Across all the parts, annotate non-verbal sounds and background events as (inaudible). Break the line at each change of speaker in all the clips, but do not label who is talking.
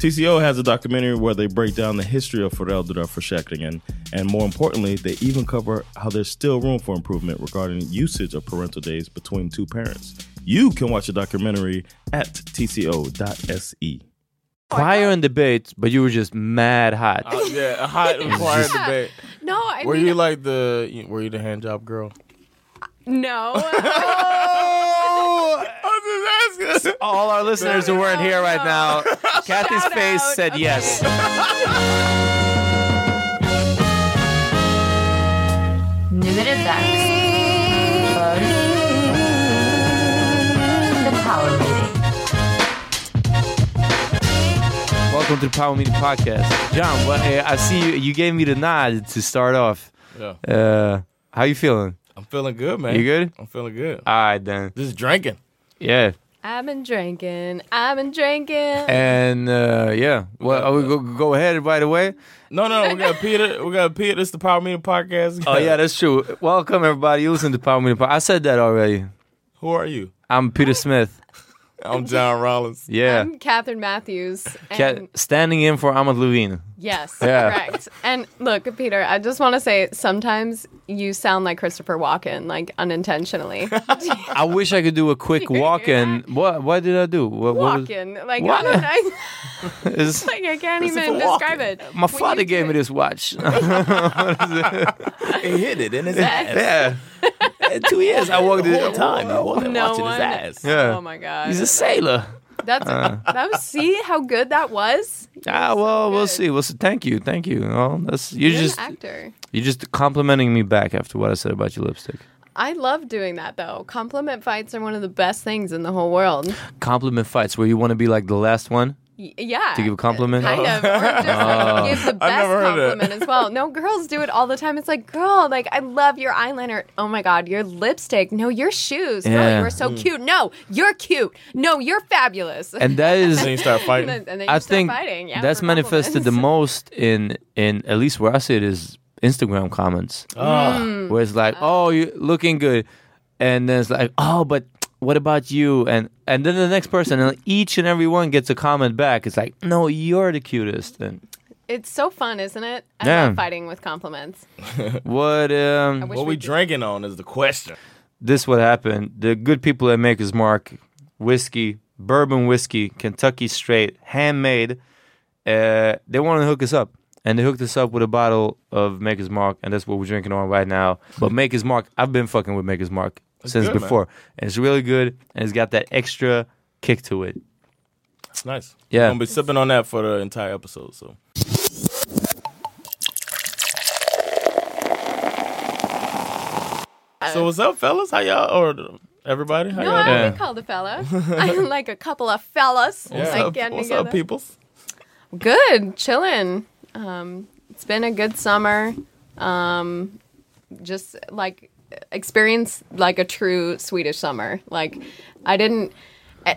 TCO has a documentary where they break down the history of föräldraförsäkringen and, and more importantly, they even cover how there's still room for improvement regarding usage of parental days between two parents. You can watch the documentary at tco.se.
Prior in debate, but you were just mad hot.
Uh, yeah, a hot
(laughs)
and quiet
Yeah.
debate.
No, (laughs) I
were
mean-
you like the you- were you the hand job girl?
(laughs)
No.
Oh, All our listeners who weren't here right now, Kathy's face said yes.
Nu är det dags för The Power Meeting.
Welcome to the Power Meeting Podcast. John, what, uh, I see you, you gave me the nod to start off.
Yeah.
Uh, how you feeling?
I'm feeling good, man.
You good?
I'm feeling good.
All right, then.
Just drinking.
Yeah.
I've been drinking. I've been drinking.
And uh, yeah, well, oh, we go, go ahead right away.
No, no, we got Peter. We got Peter. This is the Power Meeting podcast.
Oh yeah, that's true. Welcome everybody. You listen to Power Meeting. Pod- I said that already.
Who are you?
I'm Peter Smith.
I'm John Rollins.
Yeah,
I'm Catherine Matthews.
Cat-
and-
standing in for Ahmad Levine.
Yes,
Yeah.
correct. And look, Peter, I just want to say sometimes you sound like Christopher Walken, like
(laughs)
unintentionally.
(laughs) I wish I could do
(laughs)
a quick walk-in. What? What did I do? What, what was-
Walken. Like,
What?
I, don't, I,
(laughs) It's-
like, I can't
Christopher
even describe
Walken.
it.
my father gave me
(laughs)
this watch. (laughs)
He hit it in his ass.
yeah,
Two years I walked the whole time. I wasn't
No
watching his
one.
ass.
yeah. Uh.
Oh my God.
He's a sailor.
That's, that was, see how good that was?
Ah, well, we'll
good.
see. We'll see. Thank you, thank you. Oh, that's you're
You're
just
an actor.
you're just complimenting me back after what I said about your lipstick.
I love doing that though. Compliment fights are one of the best things in the whole world.
Compliment fights where you want to be like the last one.
Y- yeah.
To give a compliment?
Kind of. Or just
(laughs) Oh.
give the
I've
best
never heard it.
compliment as well. No, girls do it all the time. It's like, girl, like I love your eyeliner. Oh my god, your lipstick. No, your shoes. Girl,
Yeah.
you were so
Mm.
cute. No, you're cute. No, you're fabulous. (laughs)
and that is
And (laughs) then- and then you
I
start
think
fighting, yeah,
that's
for
manifested
(laughs)
the
compliments.
most in in at least where I see it is Instagram comments,
Ah. Mm.
where it's like, "Oh, you looking good," and then it's like, "Oh, but what about you?" and and then the next person, and each and every one gets a comment back. It's like, "No, you're the
(laughs)
cutest." And
It's so fun, isn't it? I
Yeah.
love fighting with compliments.
what um
wish What we we
drinking on is the question.
This what happened. The good people at Maker's Mark whiskey, bourbon whiskey, Kentucky straight, handmade. Uh, they wanted to hook us up. And they hooked us up with a bottle of Maker's Mark, and that's what we're drinking on right now. But Maker's Mark, I've been fucking with Maker's Mark
That's
since
good, man.
before. And it's really good, and it's got that extra kick to it.
It's nice.
Yeah.
I'm gonna be sipping on that for the entire episode. So So what's up, fellas? How y'all or everybody? How
Uh, No,
y'all
I
doing?
would be called a fella. (laughs) I'm like a couple of fellas.
What's
like
up?
getting
What's
together. (laughs)
up, peoples?
Good, chilling. Um, it's been a good summer. Um, just like experience like a true Swedish summer. Like I didn't.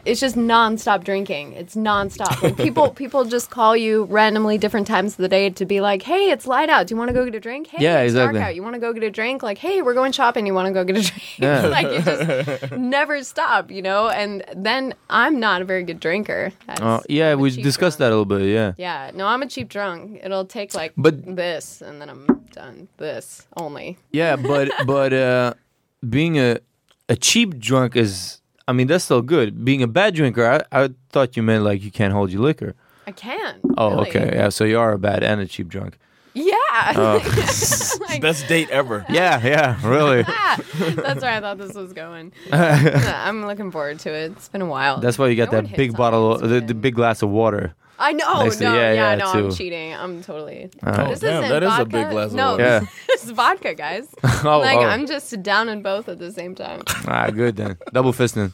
It's just nonstop drinking. It's nonstop. Like
(laughs)
people, people just call you randomly different times of the day to be like, "Hey, it's light out. Do you want to go get a drink? Hey,
Yeah,
it's
exactly.
dark out. You want to go get a drink? Like, hey, we're going shopping. You want to go get a drink? (laughs) like you just never stop, you know? And then I'm not a very good drinker. That's-
Uh, yeah, we discussed that a little bit, yeah.
yeah, no, I'm a cheap drunk. It'll take like
But-
this, and then I'm done. This
(laughs)
only. (laughs)
Yeah, but but uh, being a a cheap drunk is, I mean, that's still good. Being a bad drinker, I, I thought you meant like you can't hold your liquor.
I can.
Oh,
really.
okay, yeah. So you are a bad and a cheap drunk.
Yeah. (laughs)
Oh.
Like,
Best date
(laughs)
ever.
Yeah, yeah, really. (laughs)
ah, that's where I thought this was going. I'm looking forward to it. It's been a while.
That's why you got
No one
that
hits
big
on
bottle, the, the big glass of water.
I know,
Next to-
no, yeah,
yeah, yeah,
no, I'm
too.
cheating. I'm totally.
All right.
This
Damn,
isn't
that is a
vodka.
big glass of
no, (laughs)
water. Yeah.
this is vodka, guys.
(laughs) Oh,
like
oh.
I'm just down in both at the same time.
Ah, good
(laughs)
then. Double fisting.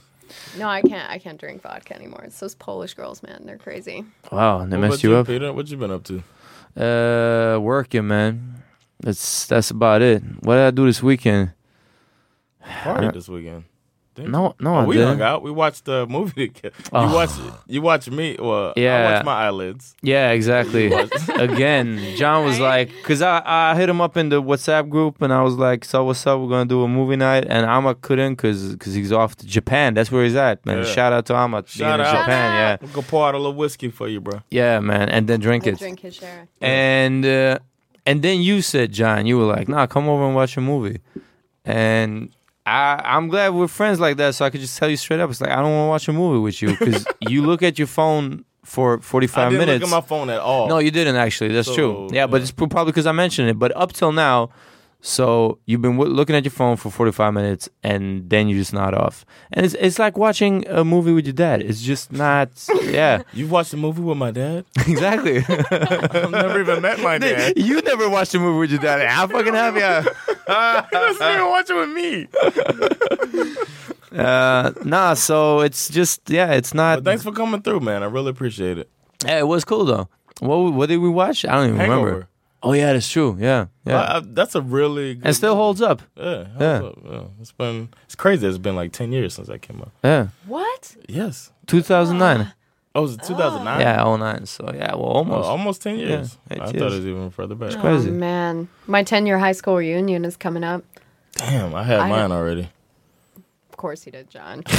No, I can't. I can't drink vodka anymore. It's those Polish girls, man. They're crazy.
Wow, and they
What about
messed you up.
Peter? What you been up to?
Uh, working, man. That's that's about it. What did I do this weekend?
Party
Uh,
this weekend. Oh,
No, no, I
we
didn't.
hung out. We watched the movie together.
Oh.
You watch, you watch me. Well, Uh, I
Yeah.
watch my eyelids.
Yeah,
(laughs)
exactly. Again, John was like, because I, I hit him up in the WhatsApp group and I was like, so what's up? We're going to do a movie night. And Ahmad couldn't because he's off to Japan. That's where he's at, man.
Yeah.
Shout out to Ahmad. being
Shout
in
out,
Japan, yeah.
I'm gonna pour out a little whiskey for you, bro.
Yeah, man. And then drink it.
Drink his share.
And, uh, and then you said, John, you were like, nah, come over and watch a movie. And I, I'm glad we're friends like that so I could just tell you straight up. It's like, I don't want to watch a movie with you
(laughs)
because you look at your phone for 45
I didn't
minutes.
look at my phone at all.
No, you didn't actually. That's true. Yeah, but it's pro- probably because I mentioned it. But up till now, so you've been w- looking at your phone for 45 minutes and then you just nod off. And it's it's like watching a movie with your dad. It's just not.
(laughs)
Yeah,
You've watched a movie with my dad?
(laughs) exactly.
(laughs) (laughs) I've never even met (laughs) my dad.
you never watched a movie with your dad. How fucking happy I.
(laughs) This nigga watching with me.
Uh, nah, so it's just yeah, it's not.
Thanks for coming through, man. I really appreciate it.
Hey, it was cool though. What what did we watch? I don't even
Hangover.
remember. Oh yeah, that's true. Yeah, yeah.
I- I- that's a really good
and still holds up.
Yeah, holds
yeah,
up, yeah. It's been it's crazy. It's been like ten years since I came up.
yeah.
What?
Yes.
2009.
Oh, was it 2009?
Yeah, 09. So yeah, well, almost
almost 10 years.
Yeah,
I thought
eight
it
years.
was even further back.
It's crazy.
Oh, man, my ten-year high school reunion is coming up.
Damn, I had
I-
mine already.
Of course he did, John.
(laughs)
(laughs)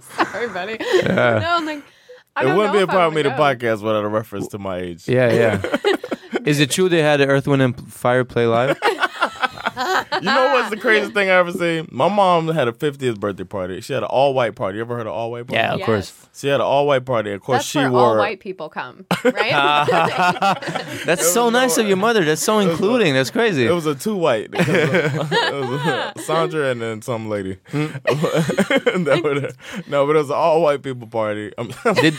Sorry, buddy.
Yeah.
No, I'm like, I
It
don't know
wouldn't be a
if I
problem
wanna
me to
go.
podcast without a reference to my age.
Yeah, yeah. Is it true they had an Earth, Wind, and Fire
(laughs)
play live?
you know
(laughs)
what's the craziest thing I ever seen? My mom had a 50th birthday party. She had an all white party. You ever heard of all white party?
Yeah, of Yes. course.
She had an all white party. Of course,
That's
she
where
wore.
all white people come,
(laughs)
right?
(laughs)
(laughs)
That's so nice
uh,
of your mother. That's so including. That's crazy.
It was a two white. (laughs) It was a- it
(laughs)
was a Sandra and then some lady.
Hmm.
(laughs) (laughs) That were there. no, but it was an all white people party. Um,
Did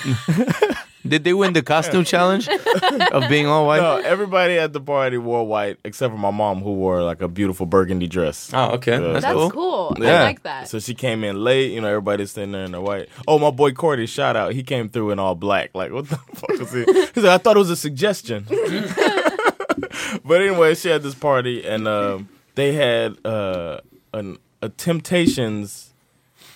Did they win the costume challenge (laughs) of being all white?
No, everybody at the party wore white except for my mom, who wore like a beautiful burgundy dress.
Oh, okay,
That's That's cool. cool. I like that.
So she came in late. You know, everybody's sitting there in their white. Oh, my boy Cordy, shout out. He came through in all black. Like, what the (laughs) fuck was he? He's like, I thought it was a suggestion. but anyway, she had this party, and um, they had uh, an a Temptations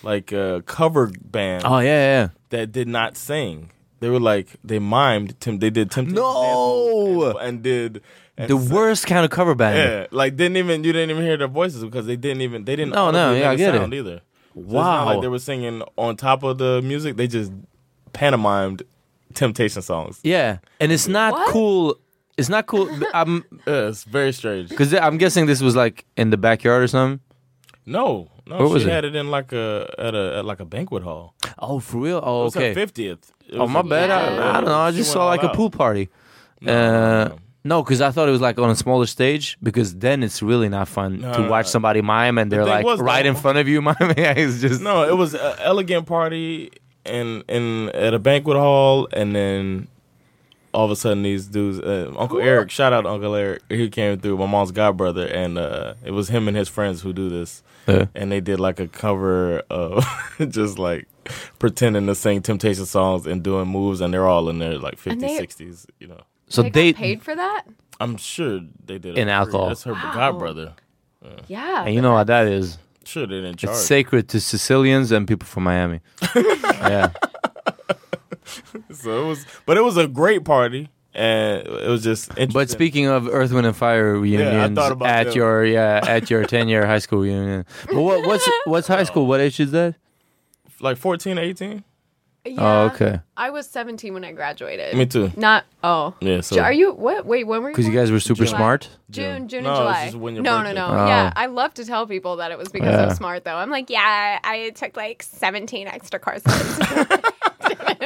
like uh, cover band.
(laughs) Oh, yeah, yeah, yeah.
That did not sing. They were like they mimed. Tim, they did Temptations. No, and, and did and
The worst kind of cover band.
yeah, like didn't even you didn't even hear their voices because they didn't even they didn't.
No, no,
audibly
yeah, I
make a
get it.
sound Either. So it's not
Wow.
like they were singing on top of the music. They just pantomimed Temptation songs.
Yeah, and it's not cool. It's not cool. I'm. uh,
it's very strange.
Because I'm guessing this was like in the backyard or something.
No, no,
What
she
was it?
had it in like a at a at like a banquet hall.
Oh, for real? Oh,
It was her
okay.
50th. It
Oh,
was
my
her-
bad.
Yeah.
I, I don't know. I
She
just
went
saw
all
like a
out.
pool party. Uh, No, because I thought it was like on a smaller stage. Because then it's really not fun
No,
to
no,
watch
no.
somebody mime and they're
thing
like
was,
right
though-
in front of you (laughs) miming. it's just
No, it was an elegant party and and at a banquet hall, and then all of a sudden these dudes, uh, Uncle Eric, shout out to Uncle Eric, he came through. My mom's godbrother, and uh, it was him and his friends who do this,
Yeah.
and they did like a cover of (laughs) just like pretending to sing Temptation songs and doing moves, and they're all in their like 50s,
And they-
60s, you know.
So
they, got paid for that.
I'm sure they did. it
In
for free.
alcohol.
That's her
Wow.
godbrother. (laughs)
Yeah.
And you know how that is.
Sure, they didn't charge.
It's sacred to Sicilians and people
(laughs)
from Miami. yeah.
So it was, but it was a great party, and it was just interesting.
But speaking of Earth, Wind, and Fire reunions
thought about
at
them.
your yeah at your ten year high school reunion. But what, what's what's high school? What age is that? Oh,
like 14, 18?
Yeah.
okay.
I was 17 when I graduated.
Me too.
Not oh.
Yeah, so-
are you what? Wait, when were you?
Because you
born?
guys were super
July.
smart.
June, June, and
No, it's
July.
just when your
no,
birthday
no, no,
was.
Yeah,
Oh.
I love to tell people that it was because
Yeah.
I'm smart, though. I'm like, yeah, I took like 17 extra courses. (laughs) like,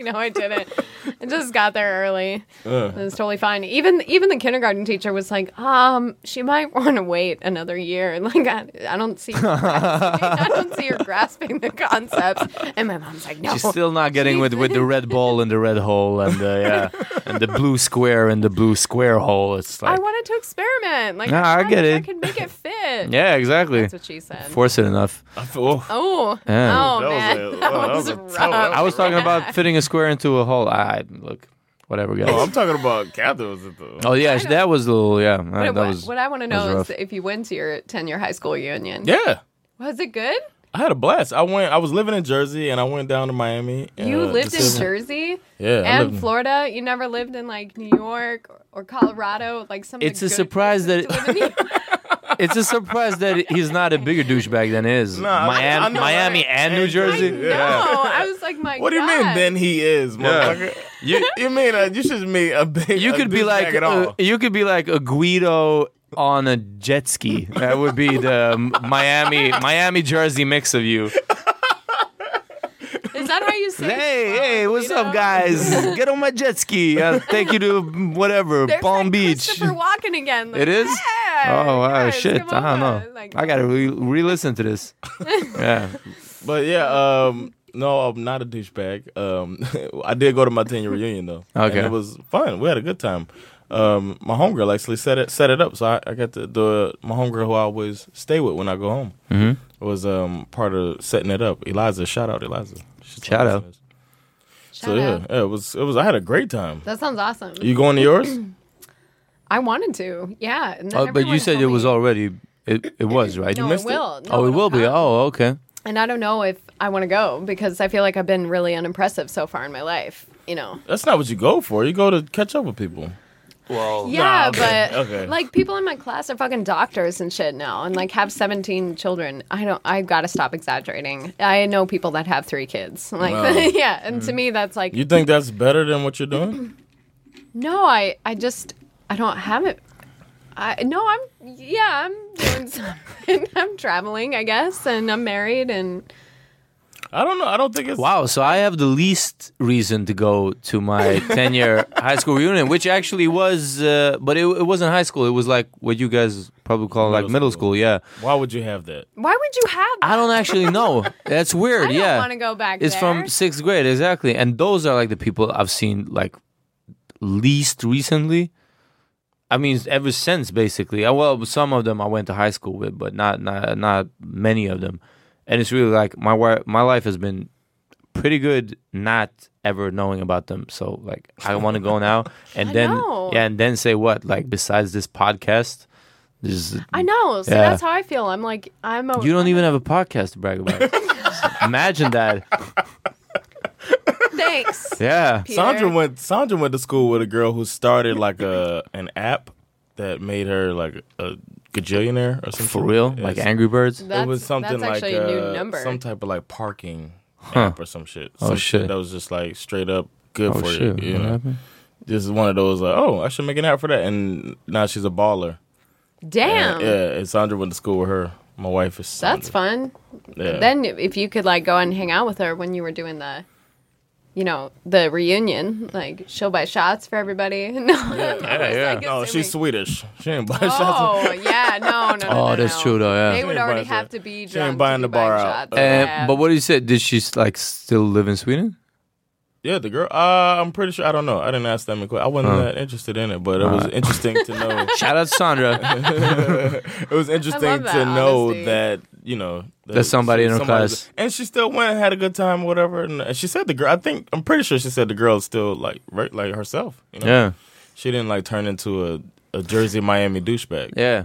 no, I didn't. I just got there early.
Yeah.
It was totally fine. Even even the kindergarten teacher was like, um, she might want to wait another year. Like, I, I don't see, I don't see her (laughs) grasping the concepts. And my mom's like, no,
She's still not getting
(laughs)
with, with the red ball and the red hole and the yeah and the blue square and the blue square hole. It's
I
like
wanted to experiment. Like,
Nah, I
I,
get
get
it.
I could make it fit.
(laughs) yeah, exactly.
That's what she said.
Force it enough.
I feel,
Oh,
Yeah. Oh,
oh
That was
man, (laughs)
a-
that
wow, that
was,
was a
rough.
tough- that
I was talking about fitting a square into a hole. I I- look, whatever, guys.
oh, I'm talking about Catherine was at the.
Oh yeah, that was a little yeah. uh,
But
that
what,
was
what I want to
that was
know
rough.
is if you went to your 10 year high school reunion.
Yeah,
Was it good?
I had a blast. I went. I was living in Jersey, and I went down to Miami.
You
uh,
lived
to
in
see-
Jersey
Yeah, I lived
and
in-
Florida. You never lived in like New York or Colorado, like some. of the
It's a
good
surprise that
places
(laughs)
to live in.
it's a surprise that he's not a bigger douchebag than is
Nah, I-
Miami,
I know,
Miami
right?
and New Jersey.
No,
(laughs)
I was like, my.
What do you mean?
God.
Then he is, motherfucker.
You-
You, (laughs) you mean uh, you should meet a big?
(laughs) You
a
could be like
douchebag at all.
uh, you could be like a Guido on a jet ski. That would be the Miami Miami Jersey mix of you.
Is that how
(laughs)
you say?
Hey, hey, what's
Guido?
up, guys? Get on my jet ski. I'll take you to whatever
There's
Palm
like
Beach.
Christopher Walken again. Like,
It is.
Yeah,
Oh wow,
guys,
shit!
come
I don't
over.
know.
Like,
I gotta re- re-listen
(laughs)
to this. yeah,
But yeah, um, no, I'm not a douchebag. Um, (laughs) I did go to my 10 year reunion though.
Okay.
and it was fun. We had a good time. Um, my homegirl actually set it set it up, so I, I got the, the my homegirl who I always stay with when I go home
Mm-hmm.
was um part of setting it up. Eliza, shout out Eliza. She's
Shout
always
out.
nice.
shout
So yeah,
out.
yeah, it was it was. I had a great time.
That sounds awesome.
You going to yours?
(clears throat) I wanted to. Yeah. and then
oh, but you
everyone
said
told
it
me-
was already. It,
(laughs)
it was right.
No,
you
it
missed
will. No,
oh, it
it'll
will be.
come.
Oh, okay.
And I don't know if I want to go because I feel like I've been really unimpressive so far in my life, you know.
That's not what you go for. You go to catch up with people.
Well,
Yeah,
Oh, okay,
but
okay.
like people in my class are fucking doctors and shit now and like have 17 children. I don't I've got to stop exaggerating. I know people that have 3 kids. Like
Wow.
(laughs)
Mm.
yeah, and to me that's like
You think that's better than what you're
(laughs)
doing?
no, I I just I don't have it. I no, I'm yeah, I'm doing (laughs) something. I'm traveling, I guess, and I'm married and
I don't know. I don't think it's
Wow, so I have the least reason to go to
(laughs)
my 10 year high school reunion, which actually was, uh, but it, it wasn't high school. It was like what you guys Probably call it like middle school. Yeah.
Why would you have that?
Why would you have?
I don't
(laughs)
actually know. That's weird.
don't
yeah.
wanna go back
It's
there.
from sixth grade, exactly. And those are like the people I've seen like least recently. I mean, ever since basically. Uh, Well, some of them I went to high school with, but not not not many of them. And it's really like my wi- my life has been pretty good not ever knowing about them. So like I want to go
(laughs)
now and
I
then
know.
yeah, and then say what like besides this podcast, there's
I know. So
Yeah.
that's how I feel. I'm like I'm a.
you don't even have a podcast to
(laughs)
brag about. Imagine that.
Thanks.
Yeah.
Peter.
Sandra went Sandra went to school with a girl who started like a an app that made her like a gajillionaire or something.
For real? Like Angry Birds?
it
That's-
was something
that's
like
actually a new
uh,
number.
some type of like parking
Huh.
app or some shit.
Oh,
Some
shit.
That was just like straight up good
Oh,
for
shit.
you. you
What
know?
happened?
Just one of those like, oh, I should make an app for that, and now she's a baller.
Damn.
And, yeah, and Sandra went to school with her. My wife is. Sandra.
That's fun.
Yeah.
Then if- if you could like go and hang out with her when you were doing the, you know, the reunion, like she'll buy shots for everybody. (laughs) No.
Yeah, yeah. No, she's Swedish. She ain't buying shots.
oh yeah, no, no. no,
Oh,
no,
that's
no.
true though. Yeah.
They would
ain't
already
buying
have
shots.
to be
She
drunk.
ain't buying
to
the
be
bar
buying
out.
shots.
Uh,
Yeah.
But what do you say? Did she like still live in Sweden?
Yeah, the girl. Uh, I'm pretty sure. I don't know. I didn't ask them. I wasn't that interested in it, but it was interesting to know.
(laughs) Shout out Sandra.
(laughs) it was interesting
that
to know
honesty.
that you know
There's somebody in her
somebody's-
class.
and she still went and had a good time, whatever. And she said the girl. I think I'm pretty sure she said the girl still like right, like herself. You know?
yeah.
she didn't like turn into a, a Jersey Miami douchebag.
Yeah.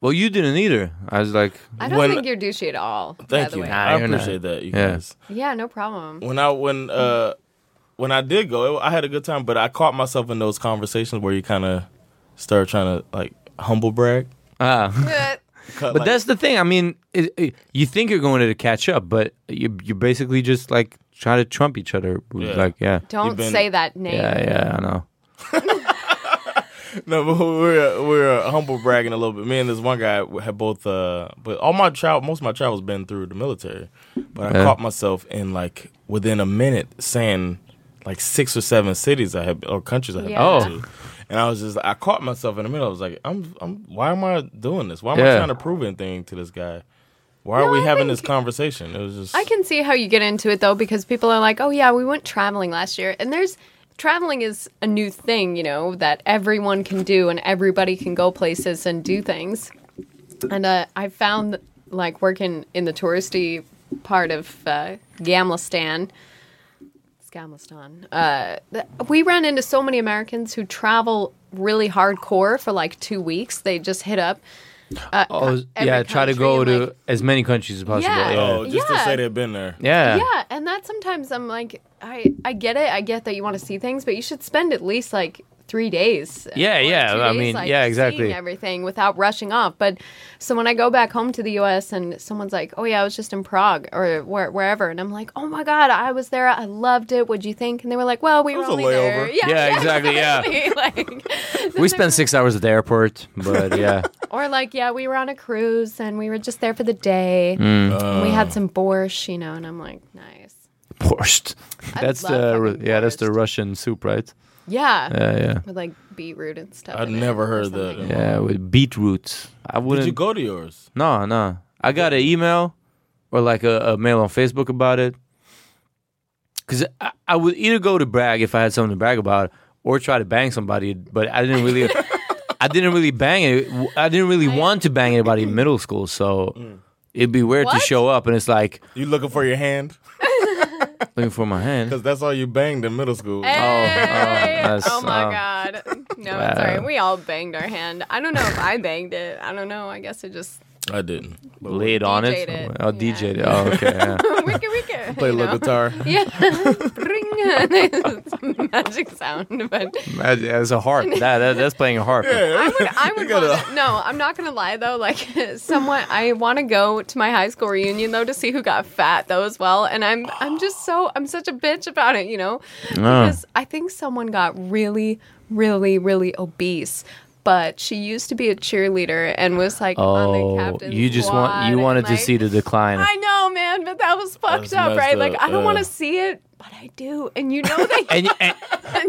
Well, you didn't either. I was like,
I don't
when-
think you're douchey at all. by
Thank
the
you.
way.
Nah,
I
you're not.
appreciate that. You
Yeah.
guys.
Yeah, no problem.
when I when uh when I did go, it, I had a good time, but I caught myself in those conversations where you kind of start trying to like humble brag. (laughs)
ah.
Cut,
But
like-
that's the thing. I mean, it, it- you think you're going to catch up, but you you basically just like try to trump each other.
Yeah.
Like, yeah.
Don't
been-
say that name.
Yeah, yeah, I know.
no, but we're we're humble bragging a little bit. Me and this one guy had both. uh But all my child, most of my travel's been through the military. But I
Yeah.
caught myself in like within a minute saying like six or seven cities I had or countries I had
Yeah.
been to. And I was just, I caught myself in the middle. I was like, I'm, I'm. Why am I doing this? Why am I
Yeah.
trying to prove anything to this guy? Why are
No,
we
I
having this
think-
conversation? It was just.
I can see how you get into it though, because people are like, "Oh yeah, we went traveling last year," and there's traveling is a new thing, you know, that everyone can do and everybody can go places and do things. And uh, I found like working in the touristy part of uh, Gamlestan, Scamlistan, uh, th- we ran into so many Americans who travel really hardcore for like two weeks. They just hit up. Uh,
Oh,
every
yeah. Try to
country
go
and,
to
like,
as many countries as possible.
Yeah.
Yeah.
Oh, just
Yeah.
to say they've been there.
Yeah.
yeah and that sometimes i'm like i i get it i get that you want to see things but you should spend at least like three days
Yeah,
or
yeah,
two
I
days,
mean,
like,
yeah,
seeing
exactly.
everything without rushing off but so when i go back home to the us and someone's like oh yeah i was just in prague or where, wherever and i'm like oh my god i was there i loved it what'd you think and they were like well we were
was a
only there
layover.
yeah,
Yeah, exactly, yeah.
(laughs) exactly. like,
We spent six hours at the airport, but (laughs) yeah.
or like yeah we were on a cruise and we were just there for the day
Mm.
and we
Uh.
had some borscht you know and i'm like nice
Borscht.
I
That's
love
the Ru-
fucking
yeah. That's the
borscht.
Russian soup, right?
Yeah.
Yeah, yeah.
With like beetroot and stuff.
I'd
in it
never
or
heard
something.
that.
Yeah, with beetroot. I wouldn't.
Did you go to yours?
No, no. I got an email or like a, a mail on Facebook about it. Cause I, I would either go to brag if I had something to brag about, or try to bang somebody. But I didn't
(laughs)
really, I didn't really bang it. I didn't really want to bang anybody in middle school, so it'd be weird to
What?
show up and it's like
Mm. You looking for your hand?
(laughs) looking for my hand.
Because that's all you banged in middle
(laughs)
school.
Hey!
that's-
oh my
oh.
god. No, it's all right. We all banged our hand. I don't know if I banged it. I don't know. I guess it just
I didn't. But
Laid on it.
DJ'd it.
Oh, DJ'd it. Oh, okay.
(laughs)
Yeah.
wicka wicka.
play a
you
little
know?
guitar.
(laughs) Yeah. (laughs) Bring it. magic sound, but
That- That's a harp. That, that that's playing a harp.
I would I would
gotta-
want No, I'm not gonna lie though, like (laughs) someone I wanna go to my high school reunion though to see who got fat though as well. And I'm I'm just so I'm such a bitch about it, you know?
Oh.
Because I think someone got really, really, really obese. But she used to be a cheerleader and was like on
Oh,
the captain's
you just
squad
want you
and,
wanted to
like-
see the decline.
I know, man, but that was fucked
That's
up,
messed
right? Like
up,
I don't
yeah.
want to see it, but I do, and you know
(laughs)
that.
and, and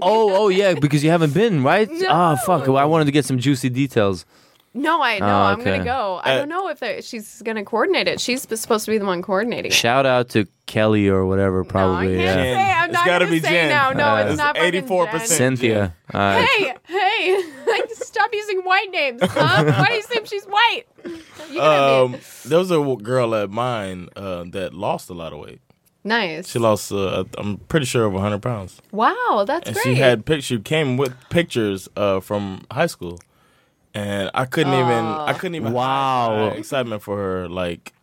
oh oh yeah because you haven't been right
No.
Ah, fuck well, i wanted to get some juicy details
No, I know.
Oh,
I'm
okay.
gonna go. I
Uh,
don't know if they- she's gonna coordinate it. She's p- supposed to be the one coordinating. it.
Shout out to Kelly or whatever, probably.
Can't
yeah.
say. I'm
It's
not
gotta
gonna
be
say
Jen.
now. No,
Uh,
it's
It's
not. Eighty four percent.
Cynthia. uh, All right.
Hey, hey! (laughs) Like, stop using white names, huh? Why do you assume she's
(laughs)
white? (laughs) You gonna
Um, there was a w- girl at mine uh, that lost a lot of weight.
be nice.
She lost, uh, I'm pretty sure, over 100 pounds.
Wow, that's
and
great.
she had pictures. She came with pictures uh, from high school, and I couldn't even. I couldn't even. Wow, excitement for her! Like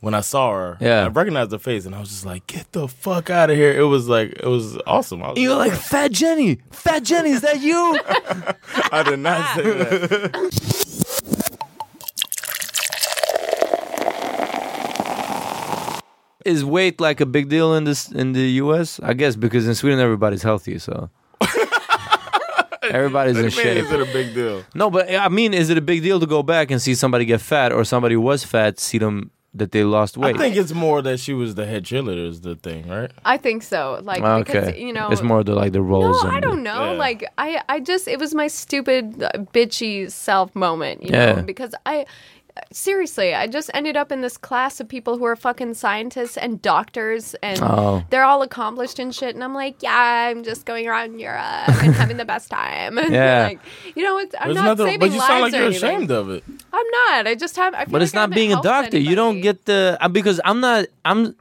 when I saw her,
Yeah.
I recognized her face, and I was just like, "Get the fuck out of here!" It was like it was awesome. I was
You're like Fat Jenny. Fat Jenny, is that you?
(laughs) I did not say that.
(laughs) Is weight like a big deal in this in the U.S.? I guess because in Sweden everybody's
(laughs)
healthy, so everybody's in
Man,
shape.
Is it a big deal?
No, but I mean, is it a big deal to go back and see somebody get fat or somebody who was fat see them that they lost weight?
I think it's more that she was the head cheerleader is the thing, right?
I think so. Like,
Ah,
because you know,
it's more the like the roles.
No,
and
I don't know.
Yeah.
Like I, I just it was my stupid uh, bitchy self moment, you
Yeah.
know, because I seriously, I just ended up in this class of people who are fucking scientists and doctors and
Oh.
they're all accomplished and shit and I'm like, yeah, I'm just going around Europe
(laughs)
and having the best time. (laughs) And
Yeah.
like, you know, it's, I'm
There's
not
nothing-
saving
but you
lives
sound like
or
you're
anything.
ashamed of it.
I'm not. I just have I feel
but it's
like I
not
haven't
being a
helped
doctor. You don't get the uh, because I'm not. I'm.